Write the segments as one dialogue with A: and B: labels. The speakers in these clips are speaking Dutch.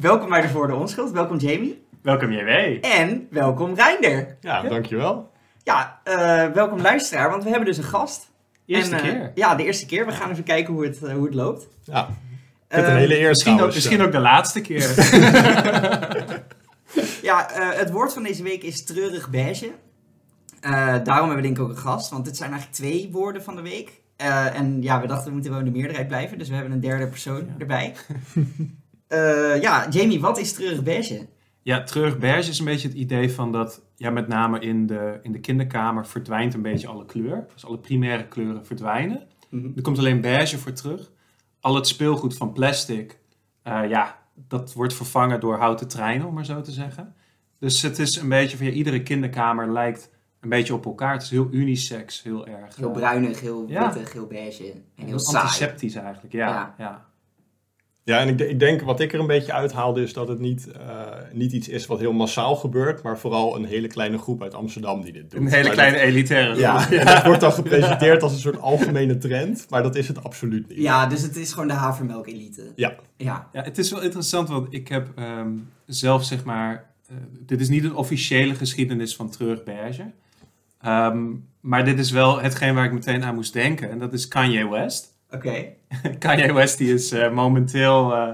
A: Welkom bij de Voor de Onschuld. Welkom Jamie.
B: Welkom JW.
A: En welkom Reinder.
B: Ja, dankjewel.
A: Ja, eh, welkom luisteraar, want we hebben dus een gast.
B: Eerste
A: En, eh,
B: keer.
A: Ja, de eerste keer. We gaan even kijken hoe het, eh, hoe het loopt.
C: Ja, ik
A: Eh,
C: heb een hele eer
B: Misschien, ook,
C: trouwens. eh,
B: misschien ook de laatste keer.
A: Ja, eh, het woord van deze week is treurig beige. Eh, daarom hebben we denk ik ook een gast, want dit zijn eigenlijk twee woorden van de week. Eh, en ja, we dachten we moeten wel in de meerderheid blijven, dus we hebben een derde persoon erbij. Eh, ja, Jamie, wat is treurig beige?
B: ja, terug beige is een beetje het idee van dat, ja, met name in de, in de kinderkamer verdwijnt een beetje alle kleur. Dus alle primaire kleuren verdwijnen.
A: Mhm.
B: Er komt alleen beige voor terug. Al het speelgoed van plastic, eh, ja, dat wordt vervangen door houten treinen, om maar zo te zeggen. Dus het is een beetje van, ja, iedere kinderkamer lijkt een beetje op elkaar. Het is heel unisex, heel erg.
A: Heel
B: eh,
A: bruinig, heel
B: Ja.
A: wittig, heel beige en heel
B: heel
A: saai.
B: antiseptisch eigenlijk, ja.
A: Ja.
B: ja.
C: Ja, en ik, de- ik denk wat ik er een beetje uithaalde is dat het niet, eh, niet iets is wat heel massaal gebeurt, maar vooral een hele kleine groep uit Amsterdam die dit doet.
B: Een hele
C: Maar
B: kleine elitaire
C: Dat, ja, en dat wordt dan gepresenteerd als een soort algemene trend, maar dat is het absoluut niet.
A: Ja, dus het is gewoon de havermelk-elite.
C: Ja.
A: Ja.
B: Ja, het is wel interessant, want ik heb ehm, zelf zeg maar. eh, dit is niet een officiële geschiedenis van Treurberge. Ehm maar dit is wel hetgeen waar ik meteen aan moest denken. En dat is Kanye West.
A: Oké.
B: Kanye West die is eh, momenteel eh,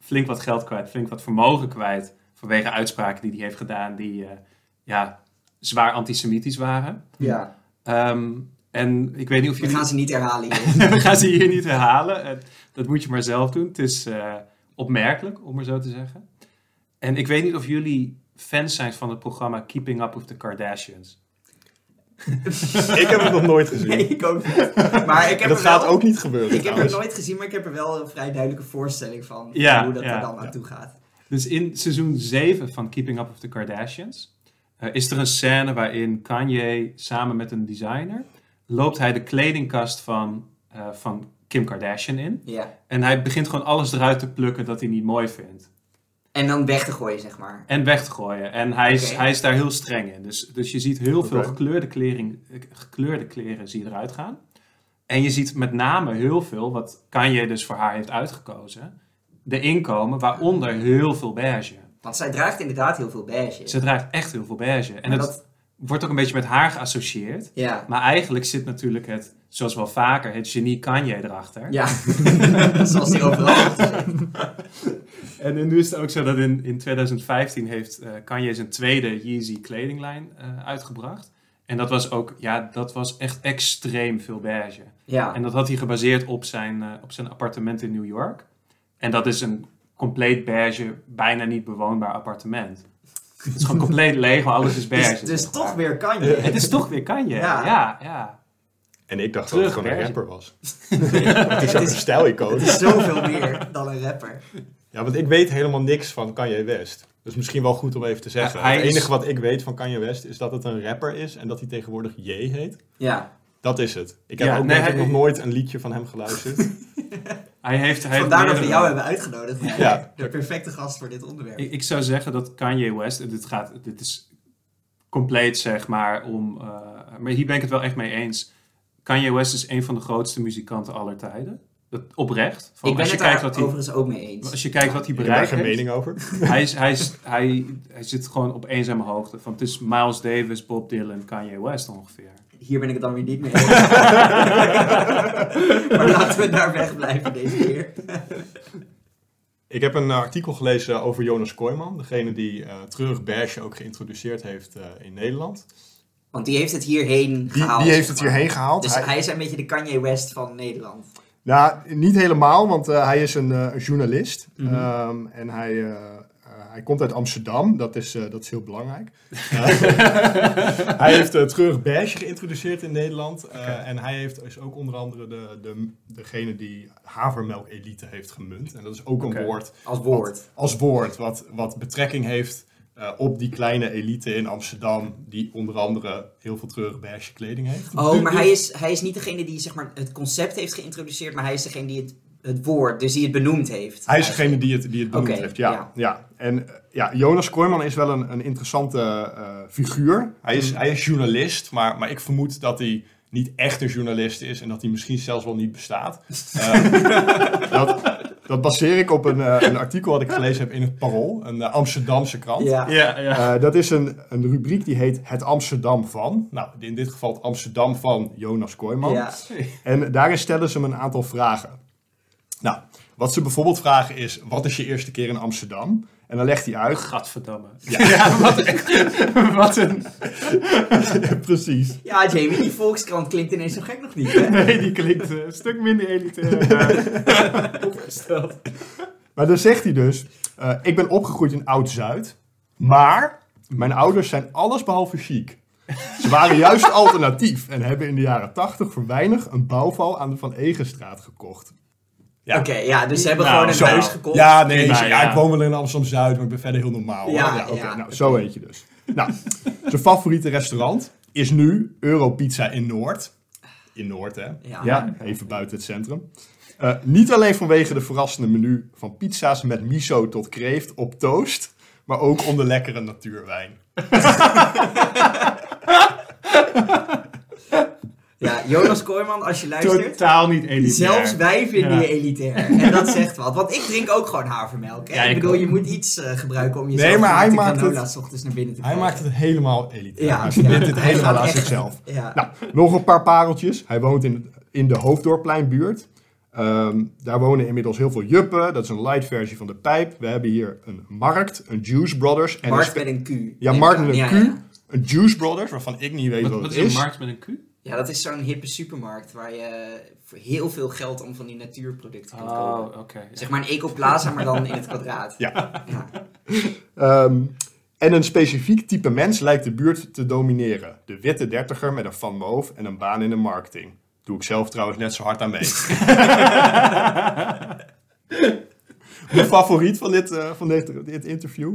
B: flink wat geld kwijt, flink wat vermogen kwijt. Vanwege uitspraken die hij heeft gedaan, die eh, ja, zwaar antisemitisch waren.
A: Ja.
B: Ehm, en ik weet niet of
A: We
B: jullie.
A: gaan ze niet herhalen hier.
B: We gaan ze hier niet herhalen. Eh, Dat moet je maar zelf doen. Het is eh, opmerkelijk, om maar zo te zeggen. En ik weet niet of jullie fans zijn van het programma Keeping Up with the Kardashians.
C: Ik heb het nog nooit gezien.
A: Nee, ik ook niet. Maar ik heb
C: en dat
A: er
C: gaat
A: wel-
C: ook niet gebeuren
A: Ik heb het
C: trouwens.
A: nooit gezien, maar ik heb er wel een vrij duidelijke voorstelling van.
B: Ja,
A: hoe dat
B: ja,
A: er dan
B: ja.
A: naartoe gaat.
B: Dus in seizoen 7 van Keeping Up with the Kardashians eh, is er een scène waarin Kanye samen met een designer loopt hij de kledingkast van, eh, van Kim Kardashian in.
A: Ja.
B: En hij begint gewoon alles eruit te plukken dat hij niet mooi vindt.
A: En dan weg te gooien, zeg maar.
B: En weg te gooien. En hij is,
A: Oké.
B: hij is daar heel streng in. Dus, dus je ziet heel veel
C: Oké.
B: gekleurde, klering, eh, gekleurde kleren zie je eruit gaan. En je ziet met name heel veel, wat Kanye dus voor haar heeft uitgekozen, de inkomen, waaronder heel veel beige.
A: Want zij draagt inderdaad heel veel beige.
B: Ze draagt echt heel veel beige. En
A: Maar
B: het wordt ook een beetje met haar geassocieerd.
A: Ja.
B: Maar eigenlijk zit natuurlijk het, zoals wel vaker, het genie Kanye erachter.
A: Ja. Zoals die overal.
B: En en nu is het ook zo dat in, in 2015 heeft eh, Kanye zijn tweede Yeezy kledinglijn eh, uitgebracht. En dat was ook, ja, dat was echt extreem veel beige.
A: Ja.
B: En dat had hij gebaseerd op zijn, eh, op zijn appartement in New York. En dat is een compleet beige, bijna niet bewoonbaar appartement. Het is gewoon compleet leeg, maar alles is beige.
A: Dus, dus
B: zeg maar.
A: toch weer kan je.
B: Het is toch weer Kanye.
A: Ja.
B: Ja, ja. ja.
C: En ik dacht
B: Terug,
C: dat het gewoon een
B: Bergen.
C: rapper was.
A: het,
C: Zo'n
A: is, het
C: stijlicoon.
A: is zoveel meer dan een rapper.
C: Ja, want ik weet helemaal niks van Kanye West. Dus misschien wel goed om even te zeggen.
B: Ja, hij
C: het
B: is-
C: enige wat ik weet van Kanye West is dat het een rapper is en dat hij tegenwoordig J heet.
A: Ja.
C: Dat is het. Ik heb
B: Ja,
C: ook
B: nee,
C: denk ik
B: hij-
C: nog nooit een liedje van hem geluisterd.
B: Hij heeft, hij heeft
A: Vandaar dat we
B: meerdere-
A: jou hebben uitgenodigd. Jij
C: Ja.
A: bent De perfecte gast voor dit onderwerp.
B: Ik, ik zou zeggen dat Kanye West, en dit, gaat, dit is compleet zeg maar om, eh, maar hier ben ik het wel echt mee eens. Kanye West is een van de grootste muzikanten aller tijden. Dat, oprecht. Van,
A: Ik ben
B: als, je
A: het
B: kijkt
A: daar
B: wat hij,
A: overigens ook mee eens.
B: als je kijkt wat hij
C: Ik heb daar
B: bereikt
C: geen
B: heeft,
C: mening over.
B: hij, is, hij, is, hij, hij zit gewoon op eenzame hoogte. Van, het is Miles Davis, Bob Dylan, Kanye West ongeveer.
A: Hier ben ik het dan weer niet mee eens. maar laten we daar wegblijven deze keer.
C: Ik heb een artikel gelezen over Jonas Kooijman. Degene die eh Treurig Beige ook geïntroduceerd heeft eh, in Nederland.
A: Want die heeft het hierheen
C: Die,
A: gehaald.
C: die heeft
A: zeg
C: het
A: maar.
C: hierheen gehaald.
A: Dus
C: Hij-
A: hij is een beetje de Kanye West van Nederland.
C: Nou, niet helemaal, want eh, hij is een eh, een journalist.
A: Mhm.
C: Ehm, en hij, eh, eh, hij komt uit Amsterdam, dat is, eh, dat is heel belangrijk. Eh, hij heeft eh, Treurig Beige geïntroduceerd in Nederland. Eh, en hij heeft, is ook onder andere de, de, degene die havermelk elite heeft gemunt. En dat is ook
B: Oké.
C: een woord
A: Als woord.
C: als woord wat, wat betrekking heeft eh, op die kleine elite in Amsterdam. Die onder andere heel veel Treurig Beige kleding heeft.
A: Oh, maar hij is, hij is niet degene die zeg maar, het concept heeft geïntroduceerd, maar hij is degene die het, het woord, dus die het benoemd heeft.
C: Hij is degene die het, die het benoemd
A: Oké,
C: heeft, ja.
A: ja.
C: ja. En eh, ja, Jonas Kooijman is wel een, een interessante eh, figuur. Hij
A: Mm.
C: is, hij is journalist, maar, maar ik vermoed dat hij niet echt een journalist is en dat hij misschien zelfs wel niet bestaat. Eh, dat, Dat baseer ik op een, eh, een artikel dat ik gelezen heb in het Parool, een eh, Amsterdamse krant.
A: Ja.
B: Ja, ja.
C: Eh, dat is een, een rubriek die heet Het Amsterdam van. Nou, in dit geval het Amsterdam van Jonas Kooijman.
A: Ja.
C: En daarin stellen ze hem een aantal vragen. Nou, wat ze bijvoorbeeld vragen is: wat is je eerste keer in Amsterdam? En dan legt hij uit.
B: Gadverdamme.
C: Ja, wat, een, wat een- Precies.
A: ja, Jamie, die Volkskrant klinkt ineens zo gek nog niet, hè?
B: Nee, die klinkt eh, een stuk minder elitair eh, opgesteld.
C: Maar dan zegt hij dus: eh, Ik ben opgegroeid in Oud-Zuid, maar mijn ouders zijn allesbehalve chic. Ze waren juist alternatief en hebben in de jaren 80 voor weinig een bouwval aan de Van Egenstraat gekocht. Ja.
A: Oké, ja, dus ze hebben
B: Nou,
A: gewoon een
B: zo.
A: huis gekocht.
C: Ja, nee,
B: Prima,
C: ze- ja,
B: ja.
C: ik woon wel in Amsterdam-Zuid, maar ik ben verder heel normaal.
A: Ja,
C: hoor. oké,
A: ja.
C: nou, zo weet je dus. Nou, zijn favoriete restaurant is nu Europizza in Noord. In Noord, hè?
A: Ja.
C: even buiten het centrum. Eh, niet alleen vanwege de verrassende menu van pizza's met miso tot kreeft op toast, maar ook om de lekkere natuurwijn.
A: Ja, Jonas Kooijman, als je luistert.
B: Totaal niet elitair.
A: Zelfs wij vinden
B: Ja.
A: je elitair. En dat zegt wat. Want ik drink ook gewoon havermelk. Hè?
B: Ja,
A: ik
B: ik
A: bedoel,
B: ook.
A: je moet iets eh, gebruiken om jezelf
C: Nee, maar
A: met
C: hij
A: de
C: maakt
A: granola
C: het-
A: 's ochtends naar binnen te
C: Hij
A: krijgen.
C: maakt het helemaal elitair.
A: Ja,
C: hij
A: ja.
C: verbindt het
A: Hij
C: helemaal
A: gaat
C: aan
A: echt-
C: zichzelf.
A: Ja.
C: Nou, nog een paar pareltjes. Hij woont in, in de Hoofddorppijnbuurt. Ehm, daar wonen inmiddels heel veel juppen. Dat is een light versie van de pijp. We hebben hier een markt, een Juice Brothers. En
A: Markt
C: een
A: met een Q.
C: ja,
A: Neem
C: Markt
A: ik aan.
C: met een
A: Ja,
C: Q.
A: Ja.
C: Een Juice Brothers, waarvan ik niet weet wat,
B: Wat, wat
C: het
B: is een
C: is.
B: markt met een Q?
A: Ja, dat is zo'n hippe supermarkt waar je voor heel veel geld om van die natuurproducten kunt
B: Oh,
A: kopen.
B: oké.
A: Zeg maar een ecoplaza, maar dan in het kwadraat.
C: Ja.
A: Ja.
C: Ehm, en een specifiek type mens lijkt de buurt te domineren. De witte dertiger met een van moof en een baan in de marketing. Doe ik zelf trouwens net zo hard aan mee. Mijn favoriet van, dit, eh, van dit, dit interview?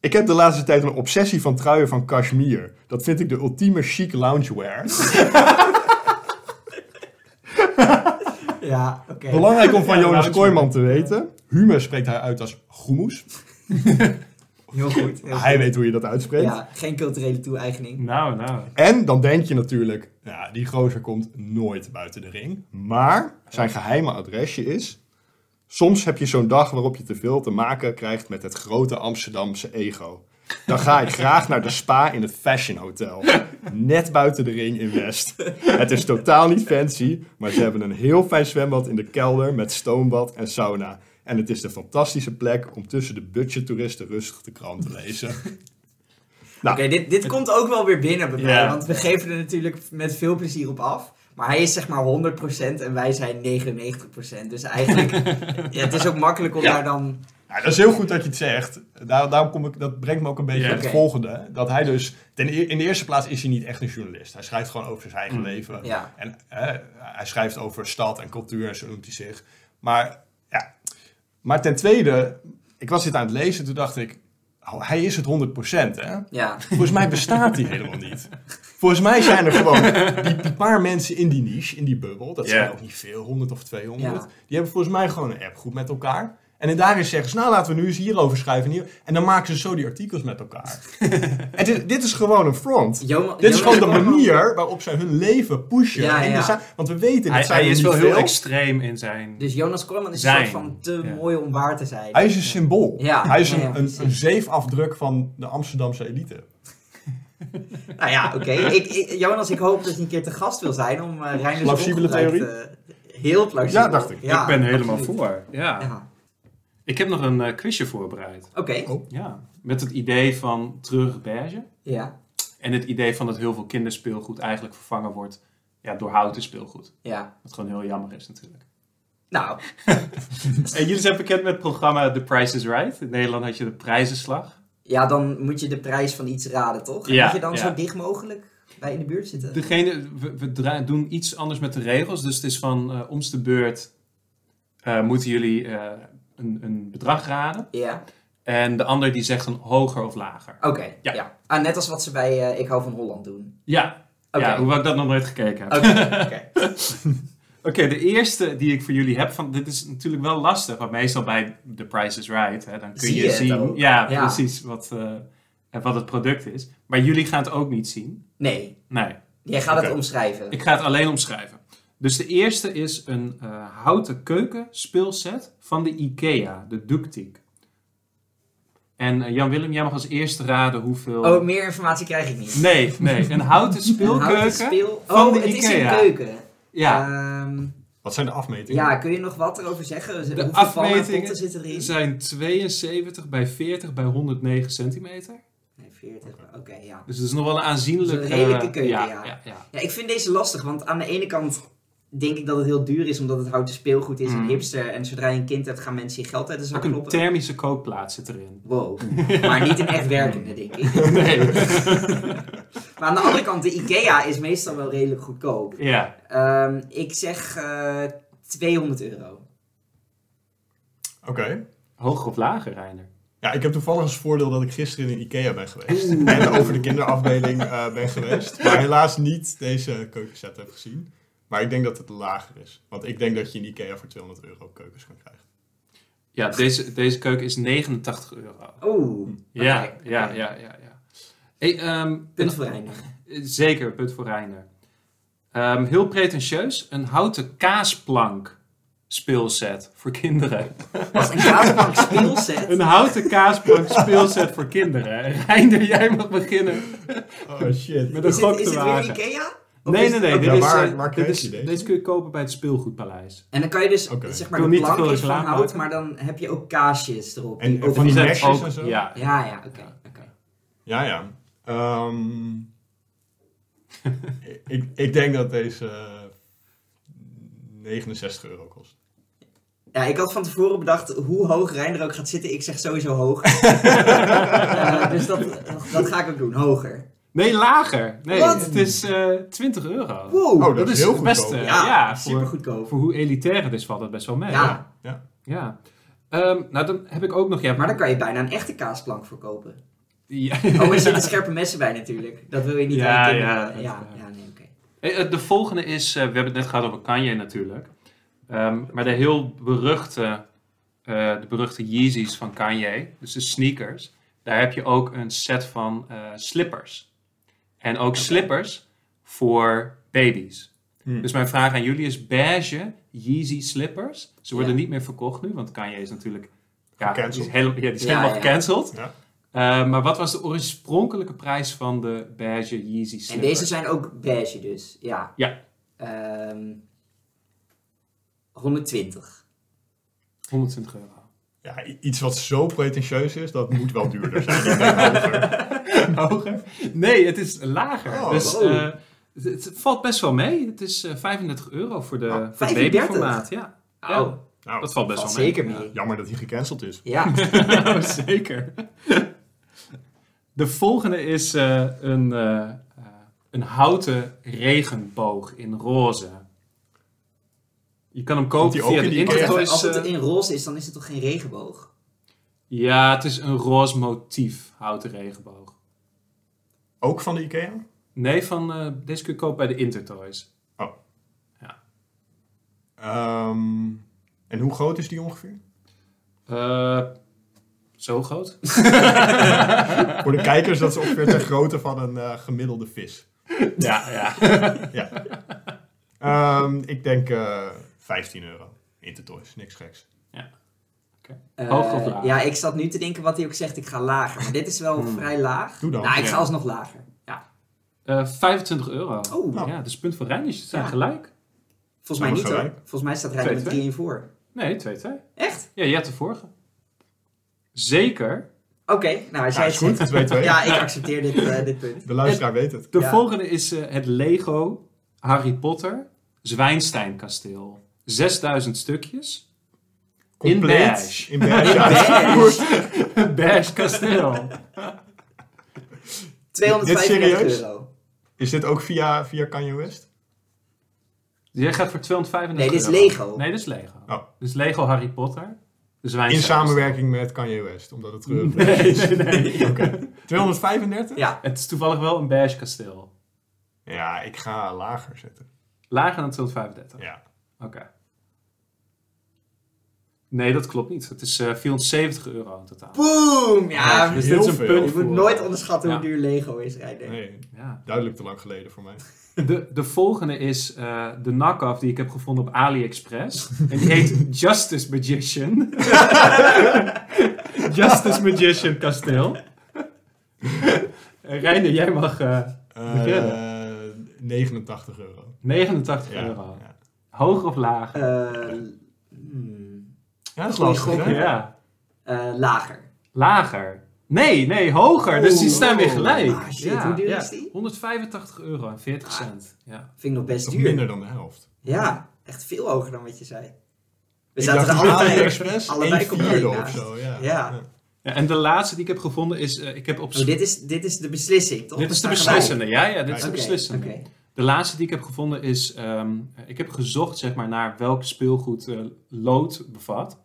C: Ik heb de laatste tijd een obsessie van truien van cashmere. Dat vind ik de ultieme chic loungewear.
A: Ja, oké.
C: Belangrijk om van
B: Ja,
C: Jonas
B: loungewear.
C: Kooijman te weten. Hume spreekt hij uit als groemoes.
A: Heel goed. heel
C: Hij
A: goed.
C: weet hoe je dat uitspreekt.
A: Ja, geen culturele toe-eigening.
B: Nou, nou.
C: En dan denk je natuurlijk, ja, die gozer komt nooit buiten de ring. Maar zijn geheime adresje is... Soms heb je zo'n dag waarop je te veel te maken krijgt met het grote Amsterdamse ego. Dan ga ik graag naar de spa in het Fashion Hotel. Net buiten de ring in West. Het is totaal niet fancy, maar ze hebben een heel fijn zwembad in de kelder met stoombad en sauna. En het is de fantastische plek om tussen de budgettoeristen rustig de krant te lezen. Nou,
A: Oké, dit, dit komt ook wel weer binnen bij mij,
B: Ja.
A: want we geven er natuurlijk met veel plezier op af. Maar hij is zeg maar 100% en wij zijn 99%. Dus eigenlijk, ja, het is ook makkelijk om
C: Ja.
A: daar dan...
C: Ja, Nou, dat is heel goed dat je het zegt. Daar, daarom kom ik, dat brengt me ook een beetje
B: Ja.
C: op het
A: Oké.
C: volgende. Dat hij dus, ten, eer- in de eerste plaats is hij niet echt een journalist. Hij schrijft gewoon over zijn eigen leven.
A: Ja.
C: En hè, hij schrijft over stad en cultuur en zo noemt hij zich. Maar, ja. maar ten tweede, ik was dit aan het lezen, toen dacht ik, oh, hij is het 100% hè?
A: Ja,
C: Volgens mij bestaat die helemaal niet. Volgens mij zijn er gewoon die, die paar mensen in die niche, in die bubbel. Dat zijn
B: Ja.
C: ook niet veel, 100 of 200.
A: Ja.
C: Die hebben volgens mij gewoon een appgroep met elkaar. En in daarin zeggen ze, nou laten we nu eens hierover schrijven. en Hier. En dan maken ze zo die artikels met elkaar. en dit, dit is gewoon een front.
A: Joma-
C: Dit is
A: Jonas
C: gewoon de
A: Kooijman-
C: manier waarop zij hun leven pushen.
A: Ja,
C: in de
A: ja.
C: za- Want we weten, dat
B: Hij,
C: zijn
B: hij
C: er
B: is
C: niet
B: wel heel
C: veel.
B: extreem in zijn...
A: Dus Jonas Korman is een
B: Zijn.
A: soort van te
B: Ja.
A: mooi om waar te zijn.
C: Hij is een symbool.
A: Ja,
C: hij is
A: ja,
C: een,
A: ja,
C: een,
A: precies.
C: een zeefafdruk van de Amsterdamse elite.
A: Nou ja, oké. Ik- ik- Jonas, ik hoop dat je een keer te gast wil zijn om eh Reiners
C: Plausibele
A: ongebruikte- heel plausibel.
C: Ja, dacht ik.
B: ik ben helemaal
A: absoluut.
B: voor. Ja.
A: Ja.
B: Ik heb nog een eh, quizje voorbereid.
A: Oké,
C: Oh.
B: Ja. Met het idee van treurig beige.
A: ja,
B: En het idee van dat heel veel kinderspeelgoed eigenlijk vervangen wordt ja, door houten speelgoed.
A: ja.
B: Wat gewoon heel jammer is natuurlijk.
A: Nou,
B: En jullie zijn bekend met het programma The Price is Right. In Nederland had je de prijzenslag.
A: ja, dan moet je de prijs van iets raden, toch? En
B: Ja,
A: moet je dan
B: ja.
A: zo dicht mogelijk bij in de buurt zitten?
B: Degene, we, we dra- doen iets anders met de regels. Dus het is van eh om de beurt eh, moeten jullie eh, een, een bedrag raden.
A: Ja,
B: En de ander die zegt een hoger of lager.
A: oké. ja.
B: Ja.
A: Ah, net als wat ze bij eh, Ik hou van Holland doen.
B: Ja,
A: Oké.
B: ja hoewel ik dat nog nooit gekeken heb.
A: Oké, oké.
B: Oké, de eerste die ik voor jullie heb, van, dit is natuurlijk wel lastig, want meestal bij The Price is Right, hè, dan kun
A: Zie je
B: je
A: het
B: zien
A: ook.
B: ja,
A: Ja.
B: precies wat, eh, en wat het product is. Maar jullie gaan het ook niet zien.
A: Nee,
B: Nee,
A: jij gaat
C: Oké.
A: het omschrijven.
B: ik ga het alleen omschrijven. Dus de eerste is een eh, houten keuken speelset van de IKEA, de Ductic. En eh, Jan-Willem, jij mag als eerste raden hoeveel...
A: Oh, meer informatie krijg ik niet.
B: Nee, nee, een houten
A: Een
B: speelkeuken.
A: houten speel-
B: van
A: Oh,
B: de
A: het is een
B: IKEA.
A: keuken.
B: Ja,
A: Ehm,
C: Wat zijn de afmetingen?
A: ja, kun je nog wat erover zeggen?
B: De
A: Hoeveel vallen en
B: afmetingen
A: potten zitten erin?
B: zijn 72 bij 40 bij 109 centimeter.
A: Nee, 40. Oké, ja.
B: Dus het is nog wel een aanzienlijke...
A: Dat is een redelijke
B: eh,
A: keuken, ja.
B: ja, ja, ja.
A: ja. Ik vind deze lastig, want aan de ene kant denk ik dat het heel duur is, omdat het houten speelgoed is en
B: Mm.
A: hipster. En zodra je een kind hebt, gaan mensen je geld uit de zak
B: Ook een
A: kloppen.
B: thermische kookplaat zit erin.
A: Wow, maar niet een echt werkende, denk ik.
B: Nee.
A: Maar aan de andere kant, de IKEA is meestal wel redelijk goedkoop.
B: ja.
A: Ehm, ik zeg eh, 200 euro.
C: Oké.
B: Hoger of lager, Reiner?
C: Ja, ik heb toevallig als voordeel dat ik gisteren in Ikea ben geweest.
A: Oeh.
C: En over de kinderafdeling eh, ben geweest. Maar helaas niet deze keukenset heb gezien. Maar ik denk dat het lager is. Want ik denk dat je in Ikea voor 200 euro keukens kan krijgen.
B: Ja, deze, deze keuken is 89 euro.
A: Oeh,
B: Ja,
A: Oké,
B: ja,
A: oké.
B: ja, ja. ja. Hey, ehm,
A: punt voor Reiner.
B: een- zeker, punt voor Reiner. Ehm, heel pretentieus, een houten kaasplank speelset voor kinderen.
A: Als een kaasbank speelset.
B: Een houten kaasplank speelset voor kinderen. Reiner, jij mag beginnen
C: Oh shit.
B: met een
A: Is
B: gok
A: het, is
B: te
A: het weer
B: wagen.
A: IKEA? Of
B: Nee,
A: is
B: nee,
A: het-
B: nee.
A: oké.
B: Dit
C: Ja,
B: is,
C: waar-
B: eh,
C: waar
B: dit
C: kreeg
B: is,
C: je deze?
B: Deze kun je kopen bij het speelgoedpaleis.
A: En dan kan je dus,
C: Oké.
A: zeg maar,
B: Ik wil
A: de
B: niet te
A: plank
B: veel
A: is van
B: reclame
A: hout,
B: maken.
A: maar dan heb je ook kaasjes erop.
C: En-
A: die
C: en
A: ook-
C: van die
B: zijn
C: mesjes
B: ook-
C: en zo?
B: Ja,
A: Ja, ja, oké. oké.
C: Ja, ja. Ehm, ik, ik denk dat deze eh, 69 euro kost.
A: Ja, ik had van tevoren bedacht hoe hoog Reiner ook gaat zitten. Ik zeg sowieso hoog. Eh, dus dat, dat ga ik ook doen, hoger.
B: Nee, lager. Nee,
A: Wat?
B: het is eh 20 euro.
A: Wow.
C: Oh, dat is heel
B: het beste.
C: goedkoop.
A: ja,
B: eh, Ja,
A: super
B: voor,
A: goedkoop.
B: voor hoe elitair het is, valt dat best wel mee.
A: Ja.
C: Ja.
B: Ja. Ehm, nou, dan heb ik ook nog... Ja,
A: Maar daar kan je bijna een echte kaasplank voor kopen.
B: Ja.
A: Oh, er zitten scherpe messen bij natuurlijk. Dat wil je niet
B: Ja,
A: aan je kinderen.
B: ja,
A: Ja, ja,
B: uiteraard.
A: nee, oké.
B: Hey, eh, De volgende is... eh, we hebben het net gehad over Kanye natuurlijk. Ehm, maar de heel beruchte... eh, de beruchte Yeezys van Kanye. Dus de sneakers. Daar heb je ook een set van eh, slippers. En ook slippers voor baby's.
A: Hmm.
C: Hm.
B: Dus mijn vraag aan jullie is beige Yeezy slippers. Ze worden
A: Ja.
B: niet meer verkocht nu, want Kanye is natuurlijk ja, die
C: Gecanceld.
B: is helemaal, ja, die is
A: Ja,
B: helemaal
A: ja.
B: gecanceld.
C: Ja.
B: Eh, maar wat was de oorspronkelijke prijs van de beige Yeezy slippers?
A: En deze zijn ook beige dus, ja.
B: Ja.
A: Ehm, 120.
B: 120 euro.
C: Ja, i- iets wat zo pretentieus is, dat moet wel duurder zijn. Ik denk hoger.
B: Hoger? Nee, het is lager.
C: Oh,
B: dus
A: oh.
B: eh, het, het valt best wel mee. Het is eh, 35 euro voor de
C: Ah,
B: voor het
A: 35?
B: babyformaat. Ja.
A: Oh,
B: Ja,
C: Nou,
B: dat valt best
A: valt
B: wel mee.
A: zeker mee.
C: Jammer dat hij gecanceld is.
A: Ja.
B: Oh, zeker. De volgende is eh, een, eh, eh, een houten regenboog in roze. Je kan hem
C: Komt
B: kopen
C: die ook
B: via
C: in
B: de
C: die Ikea?
A: Als het-
B: Intertoys.
A: Als het
B: eh,
A: in roze is, dan is het toch geen regenboog?
B: ja, het is een roze motief, houten regenboog.
C: Ook van de Ikea?
B: Nee, van, eh, deze kun je kopen bij de Intertoys.
C: Ehm, en hoe groot is die ongeveer?
B: Eh, zo groot?
C: Voor de kijkers, dat is ongeveer de grootte van een eh, gemiddelde vis.
B: ja, ja.
C: Ehm, ik denk eh 15 euro. Intertoys, niks geks.
A: Eh,
B: Hoog of laag?
A: Ja, ik zat nu te denken wat hij ook zegt. Ik ga lager. Maar dit is wel
B: Hmm.
A: vrij laag.
C: Doe dan.
A: Nou, ik
B: Ja.
A: ga alsnog lager. Ja.
B: Eh, 25 euro.
A: Oh,
C: Nou.
B: Ja, dus punt voor Rijn, zijn
A: Ja.
B: gelijk.
A: volgens mij
C: Nou,
A: niet hoor.
C: gelijk.
A: Volgens mij staat Rijn met
B: Twee,
A: 3 in voor.
B: Nee, 2-2.
A: Echt?
B: Ja, je hebt de vorige. Zeker.
A: Oké, nou als
C: Ja,
A: jij
C: is
A: het zegt.
C: goed, 2-2.
A: Ja, ik accepteer dit, eh, dit punt.
C: De luisteraar weet het.
B: De
A: Ja.
B: volgende is eh, het Lego Harry Potter Zwijnstein kasteel. 6000 stukjes. In beige.
C: In beige.
A: In
C: ja,
A: beige.
B: Beige kasteel.
A: 235
C: serieus?
A: euro.
C: Is dit ook via, via Kanye West?
B: Jij gaat voor 235
A: Nee, dit is
B: euro.
A: Lego.
B: Nee, dit is Lego.
C: Oh.
B: Dit is Lego Harry Potter. De Zwijnstein
C: In samenwerking met Kanye West, omdat het terug
B: Nee, nee, nee.
C: Oké. 235?
A: Ja.
B: Het is toevallig wel een beige kasteel.
C: Ja, ik ga lager zetten.
B: Lager dan 235.
C: Ja.
B: Oké. Nee, dat klopt niet. Het is eh 470 euro in totaal.
A: Boom! Ja,
B: dus
C: heel
B: dit is een
C: veel.
B: punt.
A: je moet
B: voor-
A: nooit onderschatten hoe
B: Ja.
A: duur Lego is, Rijder.
C: Nee,
B: Ja.
C: duidelijk te lang geleden voor mij.
B: De, de volgende is eh, de knock-off die ik heb gevonden op AliExpress. En die heet Justice Magician. Justice Magician kasteel. Eh, Reiner, jij mag eh,
C: Eh,
B: Beginnen.
C: 89 euro.
B: 89
C: Ja,
B: euro.
C: ja.
B: Hoog of laag?
A: Eh, hmm,
C: Ja, dat is
A: Goeie
C: lastig,
A: gok,
C: hè?
B: Ja.
A: eh, lager.
B: Lager. Nee, nee, hoger. Dus die staan weer
C: Oeh.
B: gelijk.
A: Ah, shit,
B: Ja,
A: hoe duur
B: ja.
A: is die? Ah.
B: 185 euro en 40 cent. Ja.
A: Vind ik nog best
C: Dat is
A: duur.
C: minder dan de helft.
A: Ja, echt veel hoger dan wat je zei. We
C: Ik
A: zaten
C: dacht
A: er
C: dat
A: allebei.
C: AliExpress
A: allebei
C: één
A: compleet
C: vierde of
A: naast.
C: zo. Ja.
A: Ja.
B: Ja, en de laatste die ik heb gevonden is, eh, ik heb op...
A: Oh, dit, is, dit is de beslissing, toch?
B: Dit is de
A: We staan gelijk.
B: beslissende. Ja, ja, dit is
C: Oké,
B: de
A: Oké,
B: beslissende.
A: oké.
B: De laatste die ik heb gevonden is, ehm, ik heb gezocht zeg maar, naar welk speelgoed eh, lood bevat.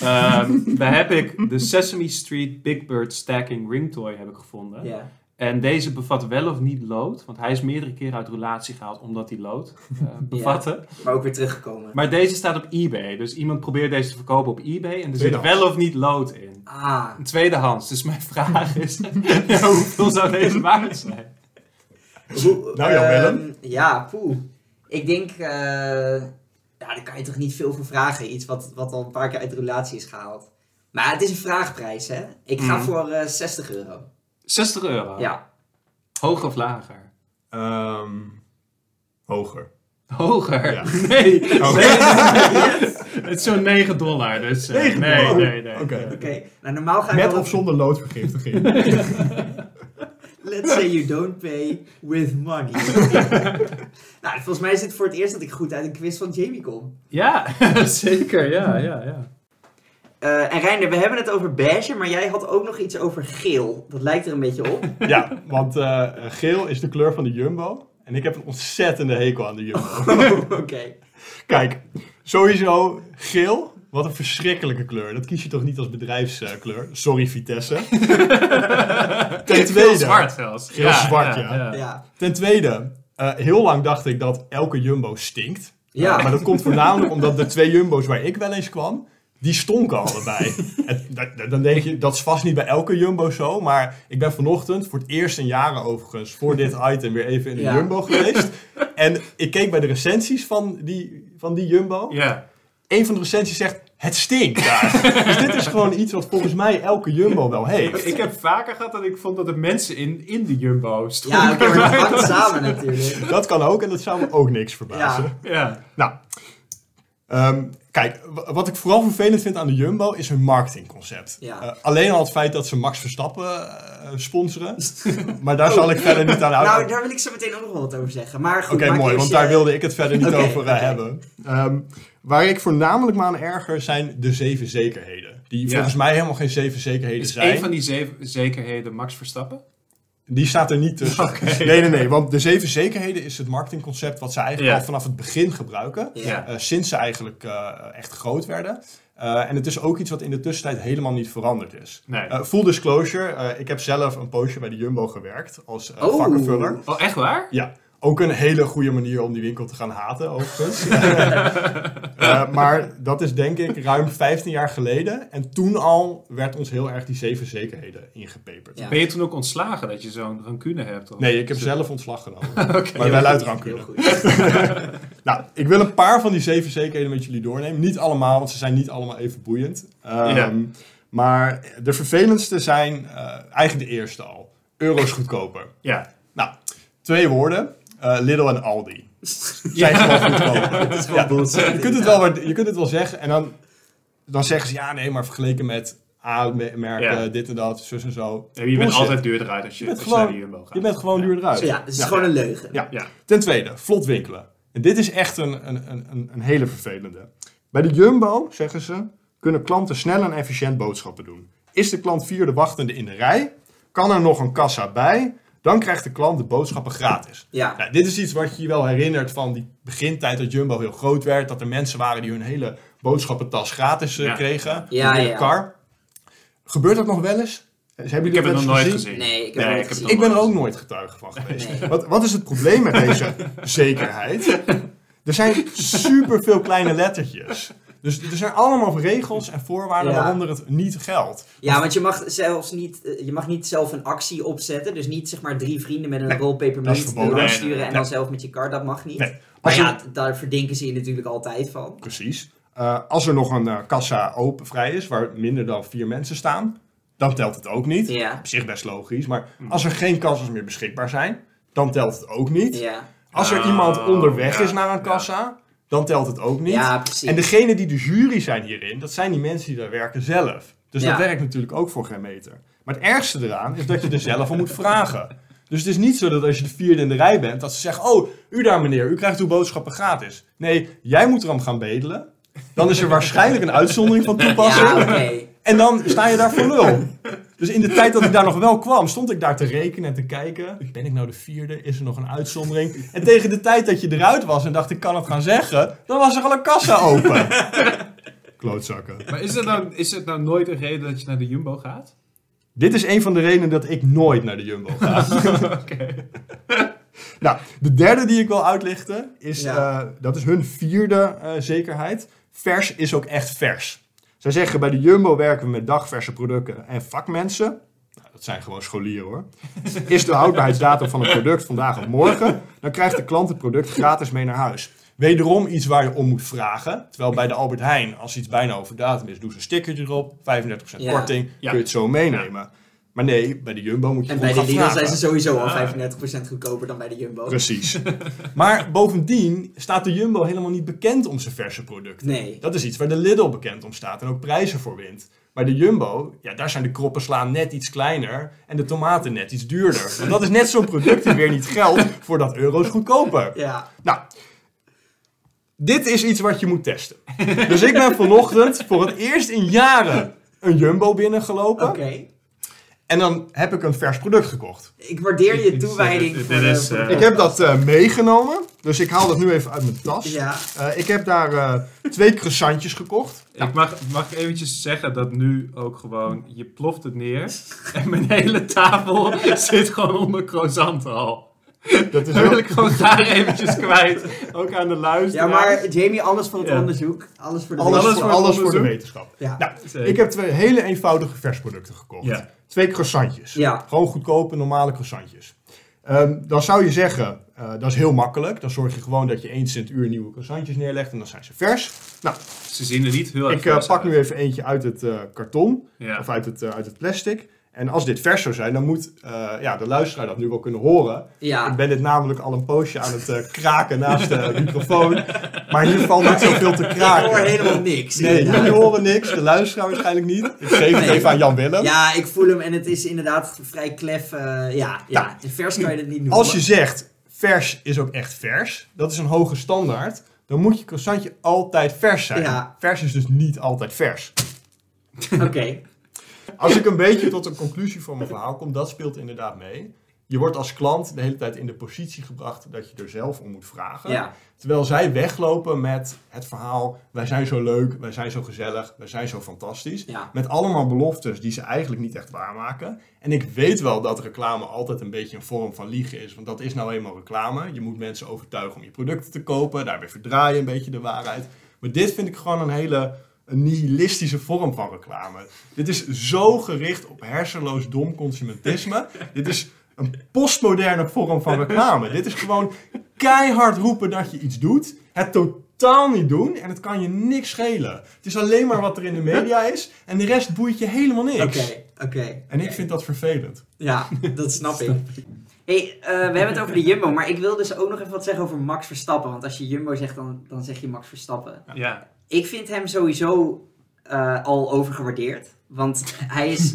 B: Ehm, daar heb ik de Sesame Street Big Bird Stacking Ring Toy heb ik gevonden.
A: Ja.
B: En deze bevat wel of niet lood, want hij is meerdere keren uit relatie gehaald omdat hij lood eh, bevatte.
A: Maar ook weer teruggekomen.
B: Maar deze staat op eBay, dus iemand probeert deze te verkopen op eBay en er zit
C: Tweedehands.
B: wel of niet lood in.
A: Ah,
B: Tweedehands, dus mijn vraag is, ja, hoeveel zou deze waard zijn?
A: hoe,
C: Nou ja,
A: ehm,
C: Willem.
A: Ja, poeh. Ik denk, eh, ja, daar kan je toch niet veel voor vragen. Iets wat, wat al een paar keer uit de relatie is gehaald. Maar het is een vraagprijs, hè? Ik ga
B: Mhm.
A: voor eh, 60 euro.
B: 60 euro.
A: Ja.
B: Hoger of lager?
C: Ehm, hoger.
B: Hoger?
C: Ja.
B: Nee.
C: Oh.
B: Nee, Het is zo'n 9 dollar. Dus, eh,
C: 9
B: nee,
C: dollar?
B: nee, nee.
C: Oké.
A: Oké, nou normaal ga ik
C: Met
A: wel-
C: of zonder loodvergiftiging.
A: Let's say you don't pay with money. nou, volgens mij is het voor het eerst dat ik goed uit een quiz van Jamie kom.
B: Ja, zeker. Ja, ja, ja.
A: Eh, en Reiner, we hebben het over beige, maar jij had ook nog iets over geel. Dat lijkt er een beetje op.
C: ja, want eh, geel is de kleur van de Jumbo. En ik heb een ontzettende hekel aan de Jumbo.
A: Oké.
C: Kijk, sowieso geel. Wat een verschrikkelijke kleur. Dat kies je toch niet als bedrijfskleur? Sorry, Vitesse. Ten
B: Heel
C: tweede,
B: zwart zelfs.
C: Heel zwart, ja.
A: Ja.
C: Ten tweede eh, heel lang dacht ik dat elke Jumbo stinkt.
A: Ja.
C: Eh, maar dat komt voornamelijk omdat de twee Jumbo's waar ik wel eens kwam, die stonken allebei. En da- da- dan denk je, dat is vast niet bij elke Jumbo zo. Maar ik ben vanochtend, voor het eerst in jaren overigens, voor dit item weer even in de
A: Ja.
C: Jumbo geweest. En ik keek bij de recensies van die, van die Jumbo.
B: Ja.
C: Een van de recensies zegt, het stinkt daar. dus dit is gewoon iets wat volgens mij elke Jumbo wel
B: Ik,
C: heeft.
B: ik heb vaker gehad dat ik vond dat de mensen in, in de Jumbo stonden.
A: Ja, oké, maar het hangt samen natuurlijk.
C: Dat kan ook en dat zou me ook niks verbazen.
A: Ja.
B: Ja.
C: Nou, ehm, kijk, w- wat ik vooral vervelend vind aan de Jumbo is hun marketingconcept.
A: Ja.
C: Eh, alleen al het feit dat ze Max Verstappen eh, sponsoren, maar daar zal ik verder niet aan
A: Nou,
C: houden.
A: daar wil ik zo meteen ook nog wel wat over zeggen. Maar goed,
C: Oké,
A: maak eerst
C: mooi,
A: eh,
C: want
A: je-
C: daar wilde ik het verder niet
A: Oké,
C: over eh,
A: oké.
C: hebben. Ehm, waar ik voornamelijk me aan erger zijn de zeven zekerheden. Die
B: Ja.
C: volgens mij helemaal geen zeven zekerheden
B: Is
C: zijn.
B: Dus een van die zeven zekerheden Max Verstappen?
C: Die staat er niet tussen. Nee, nee, nee, want de zeven zekerheden is het marketingconcept wat ze eigenlijk
B: Ja.
C: al vanaf het begin gebruiken.
A: Ja.
C: Eh, sinds ze eigenlijk eh, echt groot werden. Eh, en het is ook iets wat in de tussentijd helemaal niet veranderd is.
B: Nee.
C: Eh, full disclosure, eh, ik heb zelf een poosje bij de Jumbo gewerkt als eh,
A: Oh.
C: vakkenvuller.
B: Oh, echt waar?
C: Ja, ook een hele goede manier om die winkel te gaan haten, overigens. Eh, maar dat is denk ik ruim 15 jaar geleden. En toen al werd ons heel erg die zeven zekerheden ingepeperd.
A: Ja.
B: Ben je toen ook ontslagen dat je zo'n rancune hebt? Of?
C: Nee, ik heb zelf ontslag genomen. Maar
A: Heel
C: wel
A: goed,
C: uit rancune.
A: heel goed.
C: Nou, ik wil een paar van die zeven zekerheden met jullie doornemen. Niet allemaal, want ze zijn niet allemaal even boeiend. Ehm,
B: Ja.
C: Maar de vervelendste zijn eh, eigenlijk de eerste al. Euro's goedkoper.
B: Ja.
C: Nou, twee woorden. Eh Lidl en Aldi. Zijn gewoon goedkoper.
A: Dat is gewoon bullshit.
C: Je kunt, het wel, waard- je kunt het wel zeggen en dan, dan zeggen ze... Ja, nee, maar vergeleken met A-merken,
B: Ja.
C: dit en dat, zus en zo.
B: Ja, Je bent
C: Bullshit.
B: altijd duurder uit als je,
C: Je bent
B: als je naar de
C: gewoon-
B: Jumbo gaat.
C: Je bent gewoon
B: Ja.
C: duurder uit.
A: Ja, het is
C: Ja.
A: gewoon een leugen.
C: Ja.
B: Ja.
C: Ten tweede, vlot winkelen. En dit is echt een, een, een- een, een hele vervelende. Bij de Jumbo, zeggen ze, kunnen klanten snel en efficiënt boodschappen doen. Is de klant vierde wachtende in de rij, kan er nog een kassa bij, dan krijgt de klant de boodschappen gratis.
A: Ja.
C: Nou, dit is iets wat je je wel herinnert van die begintijd dat Jumbo heel groot werd. Dat er mensen waren die hun hele boodschappentas gratis eh,
B: Ja.
C: kregen.
A: Ja,
C: in de
A: ja.
C: kar. Gebeurt dat nog wel eens? Hebben jullie
B: Ik heb
C: dat
B: het
C: wel
B: nog
C: eens
B: nooit gezien.
A: Nee, ik heb het nooit gezien.
C: ik ben er ook nooit getuige van geweest.
A: Nee.
C: Wat, wat is het probleem met deze zekerheid? Er zijn superveel kleine lettertjes. Dus er zijn allemaal regels en voorwaarden
A: Ja.
C: waaronder het niet geldt.
A: Ja, want je mag zelfs niet, eh, je mag niet zelf een actie opzetten. Dus niet zeg maar drie vrienden met een rol
C: dat is
A: pepermunt
C: verboden.
A: langs
B: Nee,
A: sturen en
C: nee.
A: dan zelf met je kar. Dat mag niet.
C: Nee.
A: Maar
C: Als
A: ja,
C: er-
A: d- daar verdinken ze je natuurlijk altijd van.
C: Precies. Eh, als er nog een eh, kassa open vrij is waar minder dan vier mensen staan, dan telt het ook niet.
A: Ja.
C: Op zich best logisch, maar als er geen kassas meer beschikbaar zijn, dan telt het ook niet.
A: Ja,
C: Als er
B: Oh,
C: iemand onderweg
B: ja,
C: is naar een kassa, dan telt het ook niet.
A: ja precies.
C: en degene die de jury zijn hierin, dat zijn die mensen die daar werken zelf. Dus
A: Ja.
C: dat werkt natuurlijk ook voor geen meter. Maar het ergste eraan is dat je er zelf om moet vragen. Dus het is niet zo dat als je de vierde in de rij bent, dat ze zeggen: Oh, u daar meneer, u krijgt uw boodschappen gratis. Nee, jij moet erom gaan bedelen. Dan is er waarschijnlijk een uitzondering van toepassing.
A: ja, oké.
C: En dan sta je daar voor lul. Dus in de tijd dat ik daar nog wel kwam, stond ik daar te rekenen en te kijken. Ben ik nou de vierde? Is er nog een uitzondering? En tegen de tijd dat je eruit was en dacht ik kan het gaan zeggen, dan was er al een kassa open. Klootzakken.
B: Maar is het, nou, is het nou nooit een reden dat je naar de Jumbo gaat?
C: Dit is een van de redenen dat ik nooit naar de Jumbo ga.
B: Oké.
C: nou, de derde die ik wil uitlichten is,
A: Ja.
C: eh, dat is hun vierde eh, zekerheid. Vers is ook echt vers. Zij zeggen bij de Jumbo werken we met dagverse producten en vakmensen. Nou, dat zijn gewoon scholieren hoor. Is de houdbaarheidsdatum van een product vandaag of morgen, dan krijgt de klant het product gratis mee naar huis. Wederom iets waar je om moet vragen. Terwijl bij de Albert Heijn, als iets bijna over datum is, doen ze een stickertje erop. 35%
A: Ja.
C: korting,
B: Ja.
C: kun je het zo meenemen. Maar nee, bij de Jumbo moet je
A: En
C: gewoon
A: bij de
C: gaan
A: Lidl
C: vragen.
A: zijn ze sowieso al 35% goedkoper dan bij de Jumbo.
C: Precies. maar bovendien staat de Jumbo helemaal niet bekend om zijn verse producten.
A: Nee.
C: Dat is iets waar de Lidl bekend om staat en ook prijzen voor wint. Maar de Jumbo, ja, daar zijn de kroppen slaan net iets kleiner en de tomaten net iets duurder. Want dat is net zo'n product die weer niet geldt voordat euro's goedkoper.
A: Ja.
C: Nou, dit is iets wat je moet testen. Dus ik ben vanochtend voor het eerst in jaren een Jumbo binnengelopen.
A: Oké.
C: En dan heb ik een vers product gekocht.
A: Ik waardeer je toewijding.
B: Dit
A: voor de-
B: is, eh,
C: Ik heb dat eh, meegenomen, dus ik haal dat nu even uit mijn tas.
A: Ja.
C: Eh, ik heb daar eh, twee croissantjes gekocht.
B: Ik mag, mag ik eventjes zeggen dat nu ook gewoon, je ploft het neer en mijn hele tafel zit gewoon onder croissant al.
C: Dat is
B: Dan wil
C: heel...
B: ik gewoon daar eventjes kwijt, ook aan de
A: Ja,
B: luisteraar.
A: maar Jamie, alles voor het
B: Ja.
A: onderzoek. Alles voor de
C: Alles,
A: wetenschap.
C: voor, alles voor de
B: onderzoek.
C: wetenschap.
A: Ja.
C: Nou,
B: Zeker.
C: ik heb twee hele eenvoudige versproducten gekocht.
B: Ja.
C: Twee croissantjes.
A: Ja.
C: Gewoon goedkope, normale croissantjes. Ehm, dan zou je zeggen, eh, dat is heel makkelijk. Dan zorg je gewoon dat je eens in het uur nieuwe croissantjes neerlegt en dan zijn ze vers. Nou,
B: Ze zien er niet heel erg
C: ik eh,
B: vers
C: pak
B: uit.
C: nu even eentje uit het eh, karton.
B: Ja.
C: of uit het, eh, uit het plastic. En als dit vers zou zijn, dan moet eh, ja, de luisteraar dat nu wel kunnen horen. Ik
A: Ja.
C: ben dit namelijk al een poosje aan het eh, kraken naast de microfoon. Maar hier valt niet zoveel te
A: Ik hoor
C: kraken.
A: helemaal niks.
C: Nee,
A: inderdaad.
C: jullie horen niks, de luisteraar waarschijnlijk niet. Ik geef het
A: Nee.
C: even aan Jan Willem.
A: Ja, ik voel hem en het is inderdaad vrij klef. eh, ja, ja. vers kan je het niet noemen.
C: Als je zegt, vers is ook echt vers, dat is een hoge standaard, dan moet je croissantje altijd vers zijn.
A: Ja.
C: Vers is dus niet altijd vers.
A: Oké.
C: Als ik een beetje tot een conclusie van mijn verhaal kom, dat speelt inderdaad mee. Je wordt als klant de hele tijd in de positie gebracht dat je er zelf om moet vragen.
A: Ja.
C: Terwijl zij weglopen met het verhaal: wij zijn zo leuk, wij zijn zo gezellig, wij zijn zo fantastisch.
A: Ja.
C: Met allemaal beloftes die ze eigenlijk niet echt waarmaken. En ik weet wel dat reclame altijd een beetje een vorm van liegen is, want dat is nou eenmaal reclame. Je moet mensen overtuigen om je producten te kopen, daarbij verdraai je een beetje de waarheid. Maar dit vind ik gewoon een hele een nihilistische vorm van reclame. Dit is zo gericht op hersenloos dom consumentisme. Dit is een postmoderne vorm van reclame. Dit is gewoon keihard roepen dat je iets doet, het totaal niet doen en het kan je niks schelen. Het is alleen maar wat er in de media is en de rest boeit je helemaal niks.
A: Oké, oké.
C: En ik vind dat vervelend.
A: Ja, dat snap ik. hey, eh, we hebben het over de Jumbo, maar ik wil dus ook nog even wat zeggen over Max Verstappen. Want als je Jumbo zegt, dan, dan zeg je Max Verstappen.
B: Ja.
A: Ik vind hem sowieso eh, al overgewaardeerd. Want hij is.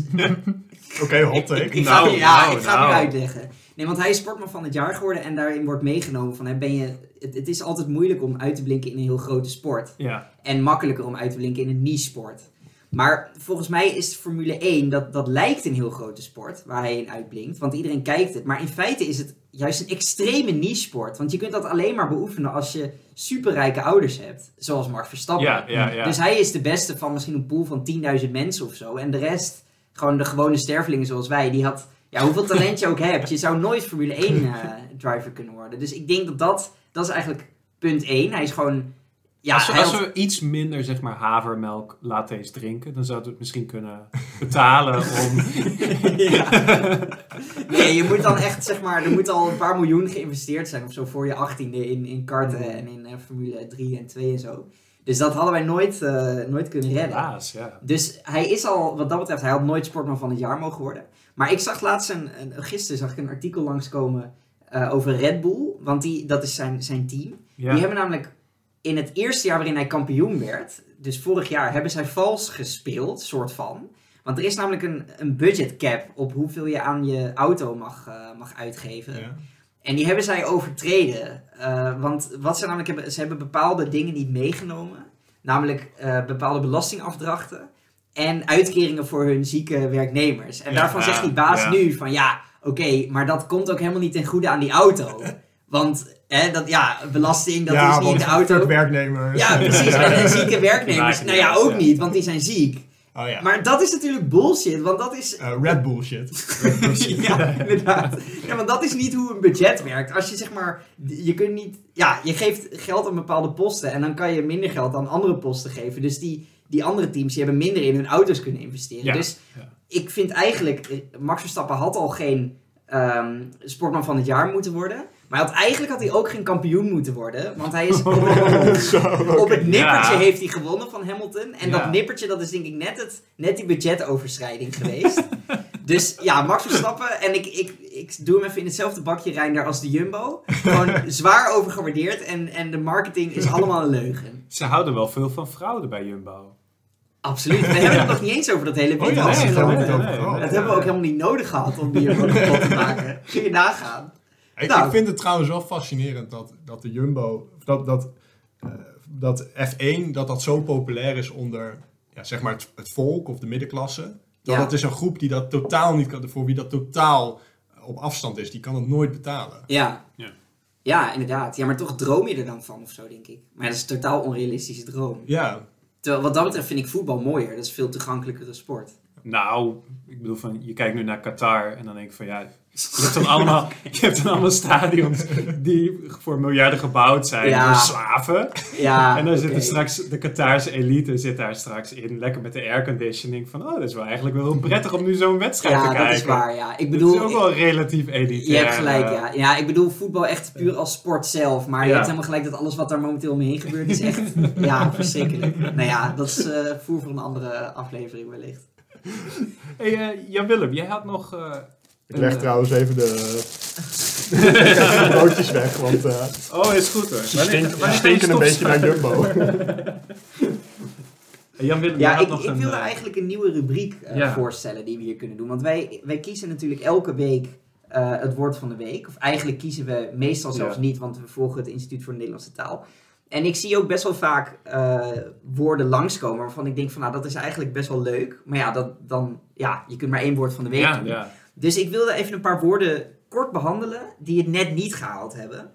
C: Oké, hot take.
A: ik, ik
B: Nou,
A: ga, nu- ja,
B: nou,
A: ik ga het
B: nou.
A: nu uitleggen. Nee, want hij is sportman van het jaar geworden en daarin wordt meegenomen van hè, ben je. Het, het is altijd moeilijk om uit te blinken in een heel grote sport.
B: Ja.
A: En makkelijker om uit te blinken in een niche-sport. Maar volgens mij is Formule 1, dat, dat lijkt een heel grote sport waar hij in uitblinkt. Want iedereen kijkt het. Maar in feite is het juist een extreme niche-sport. Want je kunt dat alleen maar beoefenen als je superrijke ouders hebt. Zoals Max Verstappen.
B: Ja, ja, ja.
A: Dus hij is de beste van misschien een pool van 10.000 mensen of zo. En de rest, gewoon de gewone stervelingen zoals wij, die had... Ja, hoeveel talent je ook hebt, je zou nooit Formule 1 eh, driver kunnen worden. Dus ik denk dat dat, dat is eigenlijk punt 1. Hij is gewoon Ja,
B: als, we,
A: hij
B: als
A: had-
B: we iets minder zeg maar havermelk lattes drinken, dan zouden we het misschien kunnen betalen om...
A: Nee, je moet dan echt, zeg maar, er moet al een paar miljoen geïnvesteerd zijn of zo voor je 18e in, in karten en in eh, Formule 3 en 2 en zo. Dus dat hadden wij nooit, eh, nooit kunnen redden.
B: Helaas, ja.
A: Dus hij is al, wat dat betreft, hij had nooit sportman van het jaar mogen worden. Maar ik zag laatst een, een gisteren zag ik een artikel langskomen eh over Red Bull. Want die, dat is zijn, zijn team.
B: ja.
A: Die hebben namelijk in het eerste jaar waarin hij kampioen werd, dus vorig jaar, hebben zij vals gespeeld, soort van. Want er is namelijk een, een budget cap op hoeveel je aan je auto mag, eh, mag uitgeven.
C: Ja.
A: En die hebben zij overtreden. Eh, want wat ze namelijk hebben, ze hebben bepaalde dingen niet meegenomen. Namelijk eh, bepaalde belastingafdrachten en uitkeringen voor hun zieke werknemers. En
C: Ja,
A: daarvan zegt die baas
B: ja.
A: nu van ja, oké, maar dat komt ook helemaal niet ten goede aan die auto. Want hè, dat, ja, belasting, dat
C: ja,
A: is niet in
C: want
A: de auto.
C: werknemers.
A: Ja, precies. En, en zieke werknemers.
B: maken
A: Nou ja,
B: niet uit,
A: ook
B: ja.
A: niet, want die zijn ziek.
C: Oh ja.
A: Maar dat is natuurlijk bullshit, want dat is
C: Eh, Red Bull shit.
A: ja, inderdaad. Ja, want dat is niet hoe een budget werkt. Als je zeg maar, je kunt niet, ja, je geeft geld aan bepaalde posten en dan kan je minder geld aan andere posten geven. Dus die, die andere teams die hebben minder in hun auto's kunnen investeren.
B: Ja,
A: Dus
B: ja.
A: ik vind eigenlijk, eh, Max Verstappen had al geen ehm, sportman van het jaar moeten worden. Maar hij had, eigenlijk had hij ook geen kampioen moeten worden. Want hij is
C: Zo, oké.
A: op het nippertje
B: Ja.
A: heeft hij gewonnen van Hamilton. En
B: Ja.
A: dat nippertje, dat is denk ik net, het, net die budgetoverschrijding geweest. dus ja, Max Verstappen. En ik, ik, ik doe hem even in hetzelfde bakje Reinder als de Jumbo. Gewoon zwaar overgewaardeerd. En, en de marketing is allemaal een leugen.
B: Ze houden wel veel van fraude bij Jumbo.
A: Absoluut. We hebben het nog niet eens over dat hele
C: Oh ja,
A: witwas
C: nee,
A: gelopen.
C: nee, nee,
A: Dat
C: nee, nee.
A: hebben we ook helemaal niet nodig gehad om die Jumbo kapot te maken. Kun je nagaan.
C: Ik,
A: Nou.
C: ik vind het trouwens wel fascinerend dat, dat de Jumbo, of dat, dat, eh, dat F1, dat dat zo populair is onder ja, zeg maar het, het volk of de middenklasse. Dat
A: Ja.
C: dat is een groep die dat totaal niet kan, voor wie dat totaal op afstand is, die kan het nooit betalen.
A: Ja.
B: Ja.
A: Ja, inderdaad. Ja, maar toch droom je er dan van of zo, denk ik. Maar dat is een totaal onrealistische droom.
C: Ja,
A: Terwijl wat dat betreft vind ik voetbal mooier. Dat is een veel toegankelijkere sport.
B: Nou, ik bedoel van, je kijkt nu naar Qatar en dan denk ik van ja, je hebt dan allemaal, je hebt dan allemaal stadions die voor miljarden gebouwd zijn
A: Ja.
B: door slaven.
A: Ja,
B: en dan
A: oké.
B: zitten straks, de Qatarse elite zit daar straks in, lekker met de airconditioning van oh, dat is wel eigenlijk wel heel prettig om nu zo'n wedstrijd te
A: Ja,
B: kijken.
A: dat is waar, ja. Ik
B: Het
A: bedoel,
B: is ook wel relatief
A: ik-
B: elitair.
A: je hebt gelijk,
B: eh,
A: ja. Ja, ik bedoel voetbal echt puur als sport zelf. Maar je
B: Ja.
A: hebt helemaal gelijk dat alles wat daar momenteel omheen gebeurt is echt, ja, verschrikkelijk. Nou ja, dat is eh, voer voor een andere aflevering wellicht.
B: Hey, eh, Jan Willem, jij had nog. eh,
C: Ik leg
B: een,
C: trouwens even de, de broodjes weg, want eh
B: eh, Oh, is goed hoor.
C: ze
B: Wanneer-
C: stinken, ze
B: wanneer
C: stinken een
B: stopt-
C: beetje naar Jumbo.
B: Hey, Jan Willem, jij
A: Ja,
B: had
A: ik,
B: nog
A: ik
B: een.
A: wilde
B: eh,
A: eigenlijk een nieuwe rubriek eh,
B: Ja.
A: voorstellen die we hier kunnen doen. Want wij, wij kiezen natuurlijk elke week eh, het woord van de week. Of eigenlijk kiezen we meestal zelfs
B: Ja.
A: niet, want we volgen het Instituut voor de Nederlandse Taal. En ik zie ook best wel vaak eh, woorden langskomen waarvan ik denk van nou, dat is eigenlijk best wel leuk. Maar ja, dat, dan, ja je kunt maar één woord van de week
B: Ja,
A: doen.
B: ja.
A: Dus ik wilde even een paar woorden kort behandelen die het net niet gehaald hebben.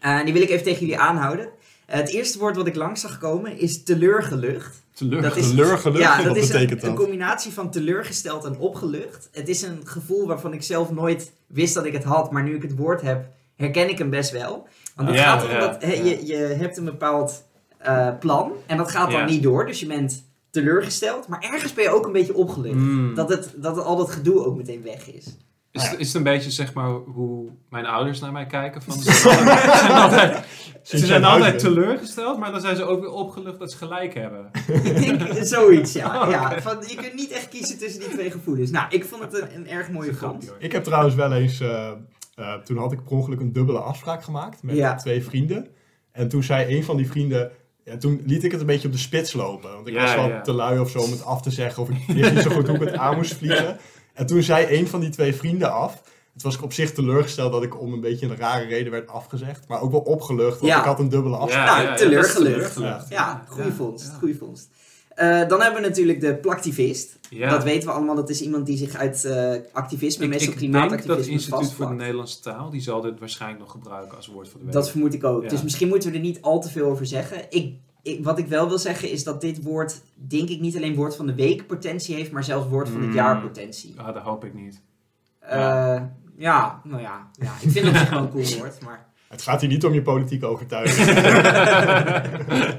A: Eh, En die wil ik even tegen jullie aanhouden. Eh, het eerste woord wat ik langs zag komen is teleurgelucht.
B: Teleur.
A: Dat is-
C: Teleurgelucht,
A: Ja,
C: wat
A: dat is
C: betekent
A: een, een
C: dat?
A: combinatie van teleurgesteld en opgelucht. Het is een gevoel waarvan ik zelf nooit wist dat ik het had, maar nu ik het woord heb, herken ik hem best wel. Want het
B: Ja,
A: gaat erom
B: ja,
A: dat hè,
B: ja.
A: je, je hebt een bepaald eh, plan en dat gaat dan
B: Ja.
A: niet door, dus je bent teleurgesteld, maar ergens ben je ook een beetje opgelucht.
B: Mm.
A: Dat, het, dat het, al dat gedoe ook meteen weg is.
B: Is,
C: Nou ja.
B: is het een beetje zeg maar hoe mijn ouders naar mij kijken? Van, ze zijn altijd, ze zijn altijd- ze
C: Sinds
B: zijn
C: jij
B: altijd
C: thuis bent.
B: teleurgesteld, maar dan zijn ze ook weer opgelucht dat ze gelijk hebben.
A: ik denk eh, zoiets, ja. ja van, je kunt niet echt kiezen tussen die twee gevoelens. Nou, ik vond het een, een erg mooie grap.
B: hoor.
C: Ik heb trouwens wel eens, eh, eh, toen had ik per ongeluk een dubbele afspraak gemaakt met
A: Ja.
C: twee vrienden. En toen zei een van die vrienden, ja, toen liet ik het een beetje op de spits lopen. Want ik
B: Ja,
C: was wel
B: ja.
C: te lui of zo om het af te zeggen of ik wist niet zo goed hoe ik het aan moest vliegen. En toen zei een van die twee vrienden af. Het was ik op zich teleurgesteld dat ik om een beetje een rare reden werd afgezegd. Maar ook wel opgelucht, want
A: Ja.
C: ik had een dubbele afspraak.
A: Nou,
B: dat is
A: teleurgelucht.
B: teleurgelucht.
A: Ja, goede vondst.
B: ja.
A: Goeie vondst. Eh, dan hebben we natuurlijk de plaktivist.
B: Ja.
A: Dat weten we allemaal, dat is iemand die zich uit eh, activisme,
B: Ik,
A: meestal
B: ik denk dat het
A: klimaatactivisme,
B: Instituut voor de
A: vastplakt.
B: Nederlandse Taal, die zal dit waarschijnlijk nog gebruiken als woord van de week.
A: Dat vermoed ik ook.
B: Ja.
A: Dus misschien moeten we er niet al te veel over zeggen. Ik, ik, wat ik wel wil zeggen is dat dit woord, denk ik, niet alleen woord van de week potentie heeft, maar zelfs woord van het
B: Mm.
A: jaar potentie.
B: Ah, dat hoop ik niet.
A: Eh, ja, nou ja. ja. Ik vind het op zich wel een cool woord, maar...
C: Het gaat hier niet om je politieke overtuiging.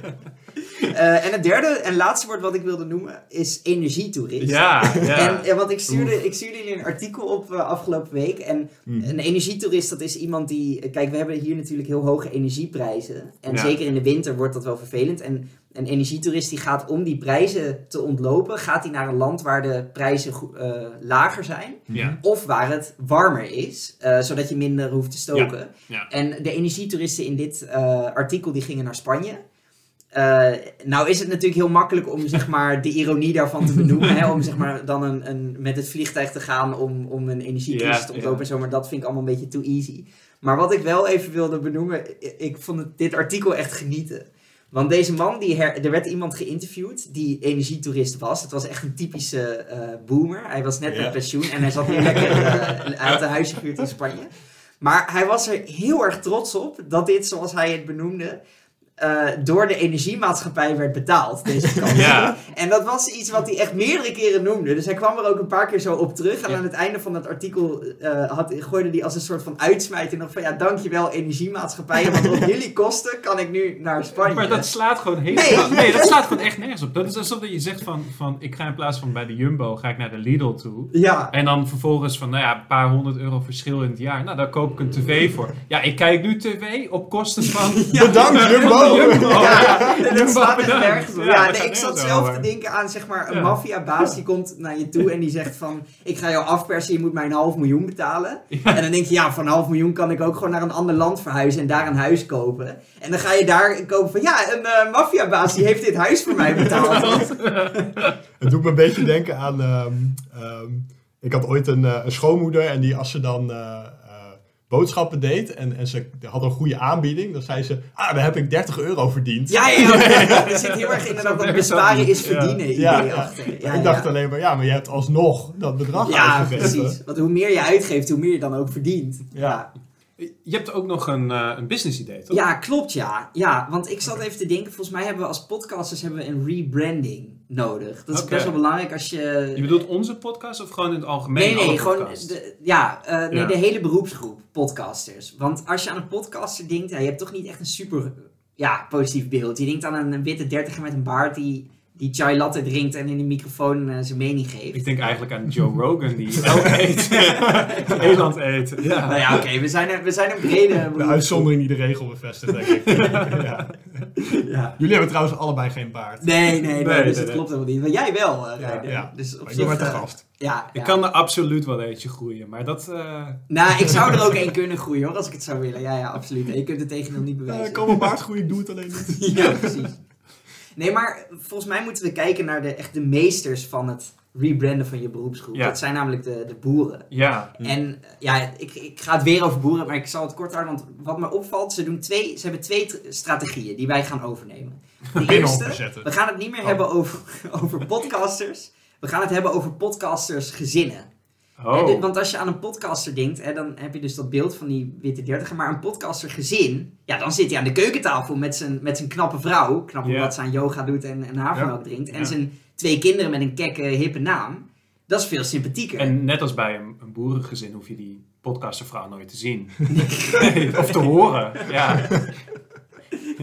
A: Eh, en het derde en laatste woord wat ik wilde noemen is energietoerist.
B: Ja, ja.
A: En, eh, want ik stuurde, ik stuurde jullie een artikel op eh, afgelopen week. En
C: Hmm.
A: een energietoerist, dat is iemand die... Kijk, we hebben hier natuurlijk heel hoge energieprijzen. En
B: Ja.
A: zeker in de winter wordt dat wel vervelend. En een energietoerist die gaat om die prijzen te ontlopen... gaat hij naar een land waar de prijzen go- eh, lager zijn.
B: ja.
A: Of waar het warmer is, eh, zodat je minder hoeft te stoken.
B: Mhm. ja.
A: En de energietoeristen in dit eh, artikel die gingen naar Spanje. Eh, nou is het natuurlijk heel makkelijk om zeg maar, de ironie daarvan te benoemen. hè, om zeg maar, dan een, een, met het vliegtuig te gaan om, om een energietoerist
B: Ja,
A: te ontlopen
B: ja.
A: en zo. Maar dat vind ik allemaal een beetje too easy. Maar wat ik wel even wilde benoemen, i- ik vond het- dit artikel echt genieten. Want deze man, die her- er werd iemand geïnterviewd die energietoerist was. Het was echt een typische eh, boomer. Hij was net
C: Ja.
A: met pensioen en hij zat nu lekker eh, uit de huisje gehuurd in Spanje. Maar hij was er heel erg trots op dat dit, zoals hij het benoemde, eh, door de energiemaatschappij werd betaald. Deze kant.
B: Ja.
A: En dat was iets wat hij echt meerdere keren noemde. Dus hij kwam er ook een paar keer zo op terug. En
B: Ja.
A: aan het einde van dat artikel eh, had, gooide hij als een soort van uitsmijter nog van... Ja, dankjewel energiemaatschappij, want op jullie kosten kan ik nu naar Spanje.
B: Maar dat slaat gewoon helemaal...
A: helemaal-
B: Nee. dat slaat gewoon echt nergens op. Dat is alsof dat je zegt van, van... Ik ga in plaats van bij de Jumbo, ga ik naar de Lidl toe.
A: Ja,
B: En dan vervolgens van, nou ja, een paar honderd euro verschil in het jaar. Nou, daar koop ik een tv voor. Ja, ik kijk nu tv op kosten van...
C: Bedankt, Jumbo!
B: Jumbo.
A: ja, en
B: Jumbo,
A: dat slaat echt
B: bedankt.
A: nergens op.
B: Ja,
A: Ja,
B: dat
A: nee,
B: gaat
A: ik zat
B: nergens
A: zelf
B: over.
A: te denken aan zeg maar, een
B: Ja.
A: maffiabaas die komt naar je toe en die zegt van... ik ga jou afpersen, je moet mij een half miljoen betalen. En dan denk je, ja, van een half miljoen kan ik ook gewoon naar een ander land verhuizen en daar een huis kopen. En dan ga je daar kopen van, ja, een eh maffiabaas die heeft dit huis voor mij betaald.
C: Het doet me een beetje denken aan. ehm, ehm, ik had ooit een, eh, een schoonmoeder en die, als ze dan eh, eh, boodschappen deed en, en ze had een goede aanbieding, dan zei ze: Ah, daar heb ik 30 euro verdiend.
A: ja, ja, ja, ja, er zit heel erg inderdaad dat
B: werkt
A: besparen
B: dat
A: is
B: niet.
A: verdienen
C: Ja.
A: idee
C: Ja.
A: achter. Ja,
C: ik dacht
A: ja.
C: alleen maar: Ja, maar je hebt alsnog dat bedrag
A: Ja,
C: uitgegeven.
A: precies. Want hoe meer je uitgeeft, hoe meer je dan ook verdient.
C: Ja.
B: Je hebt ook nog een, eh, een business idee, toch?
A: Ja, klopt ja. Ja, want ik zat even te denken, volgens mij hebben we als podcasters hebben we een rebranding nodig. Dat is
B: Oké.
A: best wel belangrijk als je...
B: Je bedoelt onze podcast of gewoon in het algemeen?
A: Nee,
B: alle
A: nee, gewoon
B: podcasts?
A: de, ja, eh, nee,
B: Ja.
A: de hele beroepsgroep podcasters. Want als je aan een podcaster denkt, ja, je hebt toch niet echt een super ja, positief beeld. Je denkt aan een, een witte dertiger met een baard die, die chai latte drinkt en in de microfoon eh, zijn mening geeft.
B: Ik denk eigenlijk aan Joe Rogan die elk eet. Eland eet. Ja.
A: Nou ja, oké, we, zijn een- we zijn een brede
C: De
A: beroepsgroep.
C: uitzondering die de regel bevestigt, denk ik. ja.
A: Ja.
C: Jullie hebben trouwens allebei geen baard.
A: Nee, nee, nee, dus
B: Nee, nee,
A: dat
B: nee.
A: klopt helemaal niet. Maar jij wel, eh
C: Ja,
A: Reinder.
C: ja.
A: Dus op
C: Maar je
A: zich,
C: bent de
A: eh,
C: gast.
A: Ja,
B: Ik
A: ja.
B: kan er absoluut wel eentje groeien, maar dat... eh,
A: Nou, ik zou er ook één kunnen groeien hoor, als ik het zou willen. Ja, ja, absoluut. Je kunt het tegen hem niet bewijzen.
C: ik Eh, kan mijn baard groeien, ik doe het alleen niet.
A: Ja, precies. Nee, maar volgens mij moeten we kijken naar de, echt de meesters van het rebranden van je beroepsgroep.
B: Ja.
A: Dat zijn namelijk de, de boeren.
B: ja.
C: Hm.
A: En eh, ja, ik, ik ga het weer over boeren, maar ik zal het kort houden. Want wat me opvalt, ze, doen twee, ze hebben twee tr- strategieën die wij gaan overnemen. De
C: Binnenhof
A: eerste,
C: bezetten.
A: we gaan het niet meer
C: Oh.
A: hebben over, over podcasters. We gaan het hebben over podcasters gezinnen. Hè, dit-
B: Oh.
A: want als je aan een podcaster denkt, hè, dan heb je dus dat beeld van die witte dertiger. Maar een podcaster gezin, ja, dan zit hij aan de keukentafel met zijn, met zijn knappe vrouw. Knap
B: Ja.
A: omdat ze aan yoga doet en, en havermelk drinkt. En
B: Ja.
A: zijn twee kinderen met een kekke, hippe naam. Dat is veel sympathieker.
B: En net als bij een, een boerengezin hoef je die podcastervrouw nooit te zien. Nee, of te horen. Ja,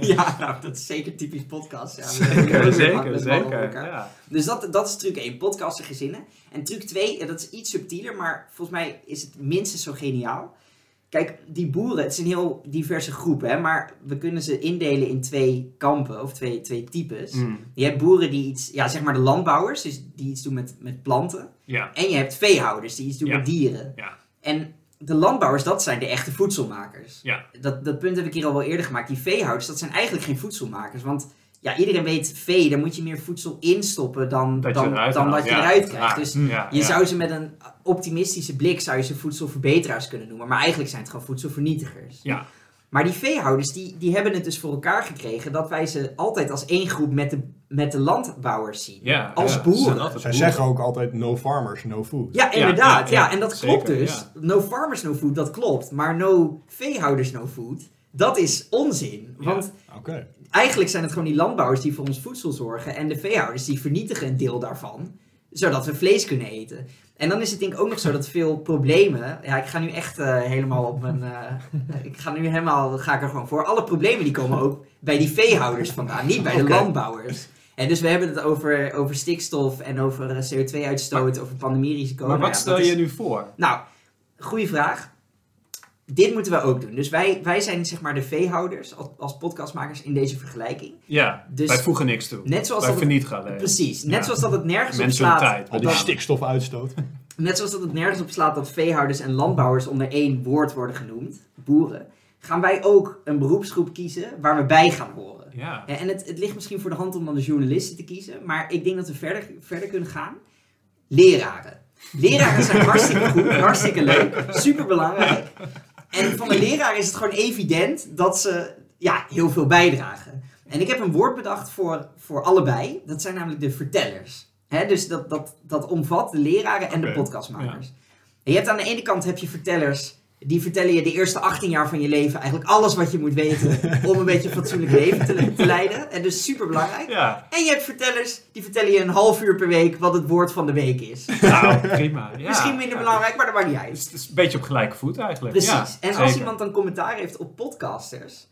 A: Ja, nou, dat is zeker typisch podcast. Ja, We zijn heel
B: zeker,
A: erg
B: zeker,
A: makkelijk mannen op
B: zeker.
A: elkaar.
B: Ja.
A: Dus dat, dat is truc 1, podcasten gezinnen. En truc 2, dat is iets subtieler, maar volgens mij is het minstens zo geniaal. Kijk, die boeren, het is een heel diverse groep, hè, maar we kunnen ze indelen in twee kampen of twee, twee types.
B: Mm,
A: Je hebt boeren die iets, ja, zeg maar de landbouwers, dus die iets doen met, met planten.
B: ja.
A: En je hebt veehouders die iets doen
B: Ja.
A: met dieren.
B: Ja.
A: En de landbouwers, dat zijn de echte voedselmakers.
B: Ja.
A: Dat, dat punt heb ik hier al wel eerder gemaakt. Die veehouders, dat zijn eigenlijk geen voedselmakers. Want ja, iedereen weet vee, daar moet je meer voedsel in stoppen dan
B: Dat je
A: dan,
B: eruit
A: dan
B: haalt,
A: dat je
B: ja.
A: eruit krijgt.
B: Ja,
A: Dus
B: ja,
A: je
B: ja.
A: zou ze met een optimistische blik zou je ze voedselverbeteraars kunnen noemen. Maar eigenlijk zijn het gewoon voedselvernietigers.
B: Ja.
A: Maar die veehouders, die, die hebben het dus voor elkaar gekregen dat wij ze altijd als één groep met de, met de landbouwers zien.
B: Ja,
A: Als
B: ja,
A: boeren.
B: ze zijn altijd
C: Zij
B: boeren.
C: zeggen ook altijd: no farmers, no food.
A: Ja, inderdaad.
B: ja,
A: Ja,
B: ja.
A: en dat
B: Zeker,
A: klopt dus. No farmers, no food, dat klopt. Maar no veehouders, no food, dat is onzin.
B: Ja.
A: Want
C: Oké.
A: eigenlijk zijn het gewoon die landbouwers die voor ons voedsel zorgen. En de veehouders die vernietigen een deel daarvan. zodat we vlees kunnen eten. En dan is het denk ik ook nog zo dat veel problemen. Ja, ik ga nu echt eh, helemaal op mijn. eh, ik ga nu helemaal. Ga ik er gewoon voor. Alle problemen die komen ook bij die veehouders vandaan, niet bij de
B: Oké.
A: landbouwers. En dus we hebben het over, over stikstof en over eh, CO2-uitstoot, over pandemierisico.
B: maar
A: Nou
B: wat
A: ja,
B: stel
A: dat is-
B: je nu voor?
A: nou, goede vraag. Dit moeten we ook doen. Dus wij, wij zijn zeg maar de veehouders als, als podcastmakers in deze vergelijking.
B: Ja,
A: Dus-
B: wij voegen niks toe.
A: Net zoals
B: wij
A: dat het-
B: vernietigen alleen.
A: Precies. Net
B: Ja.
A: zoals dat het nergens op
B: Mensen hun
A: slaat.
B: tijd.
C: Al die
A: dat-
C: stikstofuitstoot.
A: net zoals dat het nergens op slaat dat veehouders en landbouwers onder één woord worden genoemd, boeren, gaan wij ook een beroepsgroep kiezen waar we bij gaan horen.
B: Ja.
A: Ja, en het, het ligt misschien voor de hand om dan de journalisten te kiezen, maar ik denk dat we verder, verder kunnen gaan. Leraren. Leraren zijn hartstikke goed, hartstikke leuk, superbelangrijk. En van de leraar is het gewoon evident dat ze ja, heel veel bijdragen. En ik heb een woord bedacht voor, voor allebei, dat zijn namelijk de vertellers. Hè, dus dat, dat, dat omvat de leraren en de
C: Oké,
A: podcastmakers. En je hebt aan de ene kant heb je vertellers die vertellen je de eerste 18 jaar van je leven eigenlijk alles wat je moet weten om een beetje een fatsoenlijk leven te, te leiden. En dus super belangrijk.
B: Ja,
A: En je hebt vertellers die vertellen je een half uur per week wat het woord van de week is.
B: nou prima. Ja.
A: Misschien minder
B: Ja,
A: belangrijk, maar dat maakt niet
B: Het is,
A: uit.
B: het is een beetje op gelijke voet eigenlijk.
A: Precies.
B: Ja,
A: en als
B: zeker.
A: iemand dan commentaar heeft op podcasters,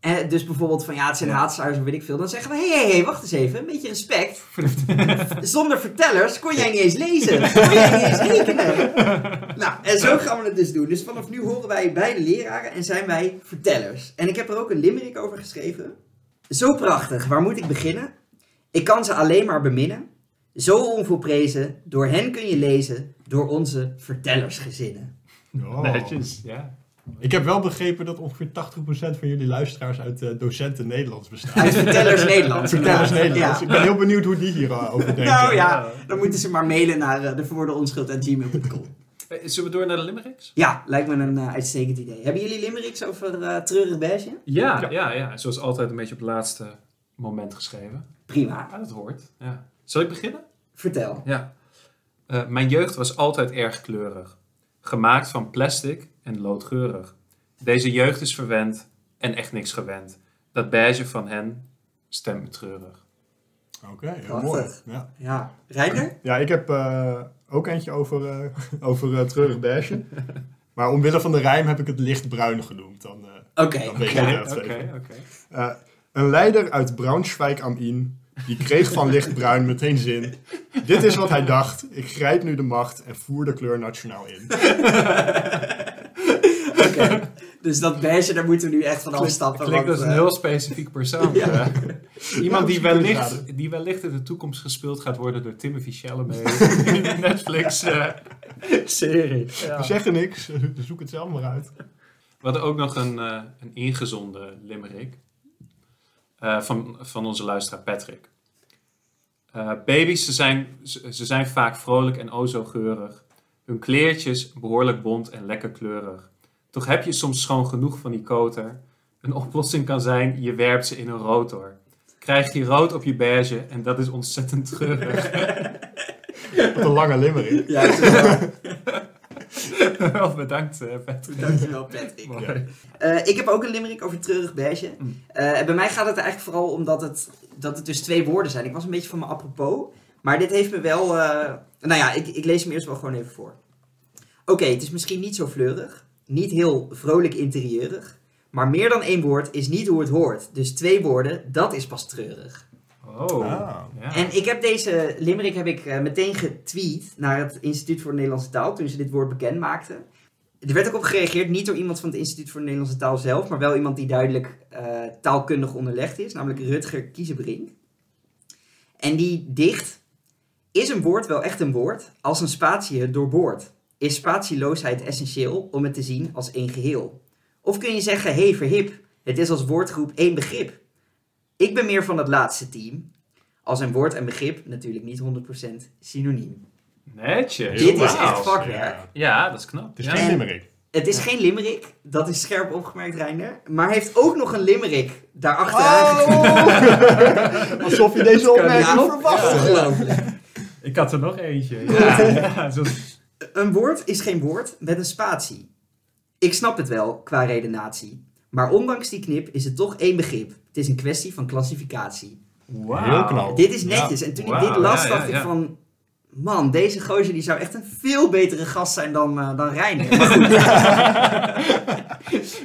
A: eh, dus bijvoorbeeld van ja, het zijn
B: Ja.
A: haatzaaiers of weet ik veel, dan zeggen we hé, hey, hey, wacht eens even, een beetje respect. Zonder vertellers kon jij niet eens lezen, kon jij niet eens rekenen. Nou, en zo gaan we het dus doen. Dus vanaf nu horen wij beide leraren en zijn wij vertellers. En ik heb er ook een limerick over geschreven. Zo prachtig, waar moet ik beginnen? Ik kan ze alleen maar beminnen. Zo onvolprezen, door hen kun je lezen, door onze vertellersgezinnen.
C: Oh.
B: Netjes, ja.
C: Ik heb wel begrepen dat ongeveer 80% van jullie luisteraars uit eh, docenten Nederlands bestaat.
A: Uit Vertellers Nederland.
C: Vertellers
A: Ja.
C: Nederlands. Ik ben heel benieuwd hoe die hierover denken.
A: Nou ja, dan moeten ze maar mailen naar eh, de
B: Eh, Zullen we door naar de limericks?
A: Ja, lijkt me een eh, uitstekend idee. Hebben jullie limericks over eh treurig beige?
B: Ja, ja, ja, Zoals altijd een beetje op het laatste moment geschreven.
A: Prima.
B: Ja, dat hoort. Ja. Zal ik beginnen?
A: Vertel.
B: Ja. Eh, mijn jeugd was altijd erg kleurig. Gemaakt van plastic en loodgeurig. Deze jeugd is verwend en echt niks gewend. Dat beige van hen stemt me treurig.
C: Oké, heel
A: Prachtig.
C: mooi. Ja.
A: Ja. Reiner?
C: Ja, ik heb eh, ook eentje over, eh over eh treurig beige. Maar omwille van de rijm heb ik het lichtbruin genoemd. Dan, eh,
A: Oké.
C: dan weet je
B: Oké,
C: het even.
B: oké, oké.
C: Eh, een leider uit Braunschweig am Inn, die kreeg van lichtbruin meteen zin. Dit is wat hij dacht. Ik grijp nu de macht en voer de kleur nationaal in.
A: Oké. Dus dat beige, daar moeten we nu echt van afstappen.
B: Klinkt
A: want,
B: als
A: eh,
B: een heel specifiek persoon.
A: Ja.
B: eh. Iemand die,
C: misschien kun je het
B: wellicht, die wellicht in de toekomst gespeeld gaat worden door Timothy Chalamet in eh. een Netflix-serie.
C: We zeggen niks, zoek het zelf maar uit.
B: We hadden ook nog een, eh, een ingezonde limerick eh, van, van onze luisteraar Patrick. Eh, baby's, ze zijn, ze, ze zijn vaak vrolijk en o zo geurig. Hun kleertjes behoorlijk bont en lekker kleurig. Toch heb je soms schoon genoeg van die koter. Een oplossing kan zijn, je werpt ze in een rotor. Krijg je rood op je beige en dat is ontzettend treurig.
C: Wat een lange limmering.
A: Ja, het is wel-
B: Wel bedankt eh, Patrick.
A: dankjewel Patrick.
B: Mooi.
C: Ja.
A: Eh, ik heb ook een limerick over treurig beige.
B: Mm.
A: Eh, en bij mij gaat het er eigenlijk vooral om dat het, dat het dus twee woorden zijn. Ik was een beetje van me apropos. Maar dit heeft me wel... eh, nou ja, ik, ik lees hem eerst wel gewoon even voor. Oké, het is misschien niet zo fleurig. Niet heel vrolijk interieurig. Maar meer dan één woord is niet hoe het hoort. Dus twee woorden, dat is pas treurig.
B: Oh.
C: Ah.
B: Ja.
A: En ik heb deze limerick heb ik eh, meteen getweet naar het Instituut voor de Nederlandse Taal toen ze dit woord bekend maakten. Er werd ook op gereageerd, niet door iemand van het Instituut voor de Nederlandse Taal zelf, maar wel iemand die duidelijk eh, taalkundig onderlegd is, namelijk Rutger Kiezenbrink. En die dicht, is een woord wel echt een woord als een spatie het doorboort? Is spatieloosheid essentieel om het te zien als één geheel? Of kun je zeggen, hey verhip, het is als woordgroep één begrip? Ik ben meer van het laatste team, als een woord en begrip natuurlijk niet 100% synoniem.
B: Netjes.
A: Dit is
B: Wauw.
A: echt vakwerk.
C: Ja.
B: Ja, dat is knap.
C: Het is
B: Ja.
C: geen
A: En-
C: limmering.
A: Het is geen limerick, dat is scherp opgemerkt, Reiner. Maar hij heeft ook nog een limerick daarachteraan.
C: Oh! Alsof je deze opmerking
A: Ja,
C: verwachtte.
A: ongelooflijk.
B: Ik had er nog eentje. Ja, ja, zoals-
A: Een woord is geen woord met een spatie. Ik snap het wel, qua redenatie. Maar ondanks die knip is het toch één begrip. Het is een kwestie van klassificatie.
B: Wauw.
C: Heel knap.
A: Dit is netjes. en toen ik dit
B: Wauw,
A: las,
B: ja, ja,
A: dacht ik
B: ja.
A: van... Man, deze gozer die zou echt een veel betere gast zijn dan, eh dan Reiner. Maar goed,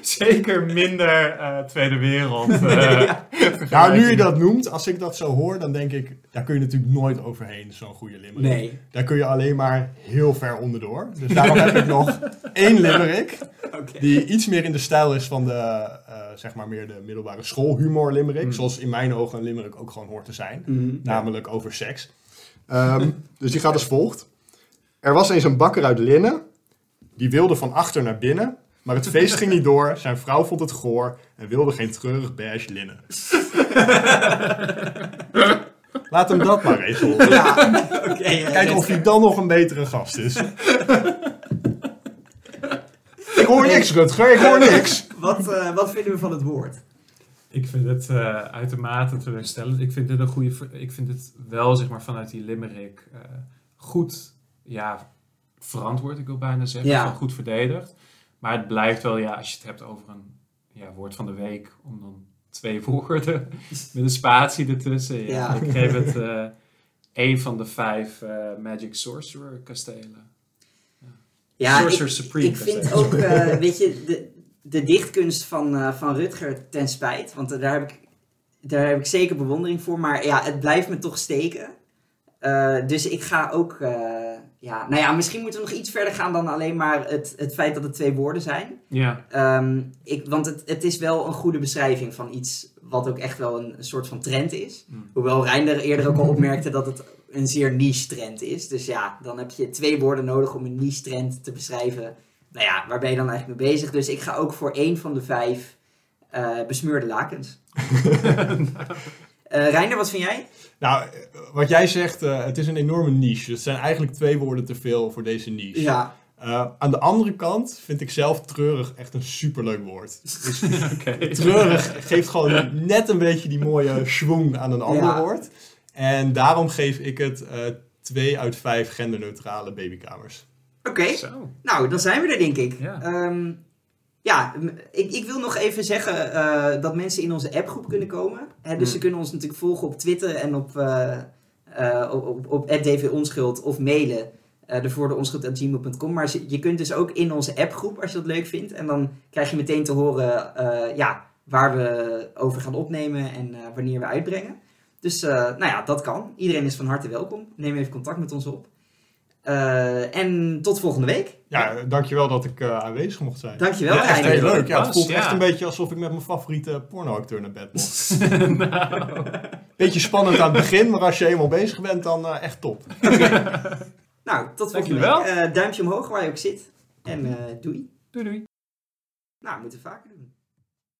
D: Zeker minder eh, Tweede Wereld. eh,
A: ja.
C: Nou, nu je dat noemt, als ik dat zo hoor, dan denk ik, daar kun je natuurlijk nooit overheen, zo'n goede limerick.
A: Nee.
C: Daar kun je alleen maar heel ver onderdoor. Dus daarom heb ik nog één limerick,
A: Oké.
C: die iets meer in de stijl is van de, eh, zeg maar meer de middelbare schoolhumor limerick.
A: Hmm.
C: Zoals in mijn ogen een limerick ook gewoon hoort te zijn.
A: Mhm.
C: namelijk over seks. Ehm, dus die gaat als volgt. Er was eens een bakker uit Linnen, die wilde van achter naar binnen, maar het feest ging niet door, zijn vrouw vond het goor en wilde geen treurig beige linnen. Laat hem dat maar regelen.
A: Ja, oké. eh,
C: Kijk of hij dan nog een betere gast is. Ik hoor niks, Rutger, ik hoor niks.
A: Wat, eh, wat vinden we van het woord?
B: Ik vind het eh, uitermate teleurstellend. Ik vind dit een goede. ver- Ik vind het wel zeg maar vanuit die limerick eh, goed, ja, verantwoord. Ik wil bijna zeggen,
A: Ja.
B: Van goed verdedigd. Maar het blijft wel, ja, als je het hebt over een ja, woord van de week, om dan twee woorden met een spatie ertussen. Ja,
A: Ja.
B: Ik geef het eh één van de vijf eh, Magic Sorcerer kastelen.
A: Ja, ik,
B: Sorcerer Supreme
A: ik vind
B: kastelen.
A: ook, eh, weet je, de, de dichtkunst van, eh, van Rutger ten spijt. Want eh, daar, heb ik, daar heb ik zeker bewondering voor. Maar ja, het blijft me toch steken. Eh, dus ik ga ook, eh, ja, nou ja, misschien moeten we nog iets verder gaan dan alleen maar het, het feit dat het twee woorden zijn.
B: Ja,
A: Ehm, ik, want het, het is wel een goede beschrijving van iets wat ook echt wel een, een soort van trend is.
B: Hmm.
A: Hoewel Reinder eerder ook al opmerkte dat het een zeer niche trend is. Dus ja, dan heb je twee woorden nodig om een niche trend te beschrijven. Nou ja, waar ben je dan eigenlijk mee bezig? Dus ik ga ook voor één van de vijf eh, besmeurde lakens. Eh Reinder, wat vind jij?
C: Nou, wat jij zegt, eh, het is een enorme niche. Het zijn eigenlijk twee woorden te veel voor deze niche.
A: Ja,
C: Eh, aan de andere kant vind ik zelf treurig echt een superleuk woord. Dus
B: oké.
C: treurig geeft gewoon net een beetje die mooie schwung aan een ander
A: Ja.
C: woord. En daarom geef ik het eh 2 uit 5 genderneutrale babykamers.
A: oké.
B: Zo.
A: Nou, dan zijn we er, denk ik.
B: Ja.
A: Ehm, ja, m- ik, ik wil nog even zeggen eh, dat mensen in onze appgroep kunnen komen. Hè, dus
B: Mm.
A: ze kunnen ons natuurlijk volgen op Twitter en op, eh eh, op, op, op @dvonschuld of mailen. eh de voordeonschuld.gmail.com. Maar ze- je kunt dus ook in onze appgroep, als je dat leuk vindt. En dan krijg je meteen te horen eh, ja, waar we over gaan opnemen en eh, wanneer we uitbrengen. Dus eh, nou ja, dat kan. Iedereen is van harte welkom. Neem even contact met ons op. Eh, en tot volgende week.
C: Ja, eh, dankjewel dat ik eh, aanwezig mocht zijn.
A: Dankjewel,
B: Ja, echt
A: Reiner.
C: Heel leuk. Ja, het
B: Was,
C: voelt
B: ja.
C: echt een beetje alsof ik met mijn favoriete pornoacteur naar bed mocht.
B: Nou.
C: Beetje spannend aan het begin, maar als je eenmaal bezig bent, dan eh, echt top.
A: Nou, tot volgende
B: Dankjewel.
A: week. Eh, duimpje omhoog waar je ook zit. En eh, doei.
B: Doei doei.
A: Nou, we moeten vaker doen.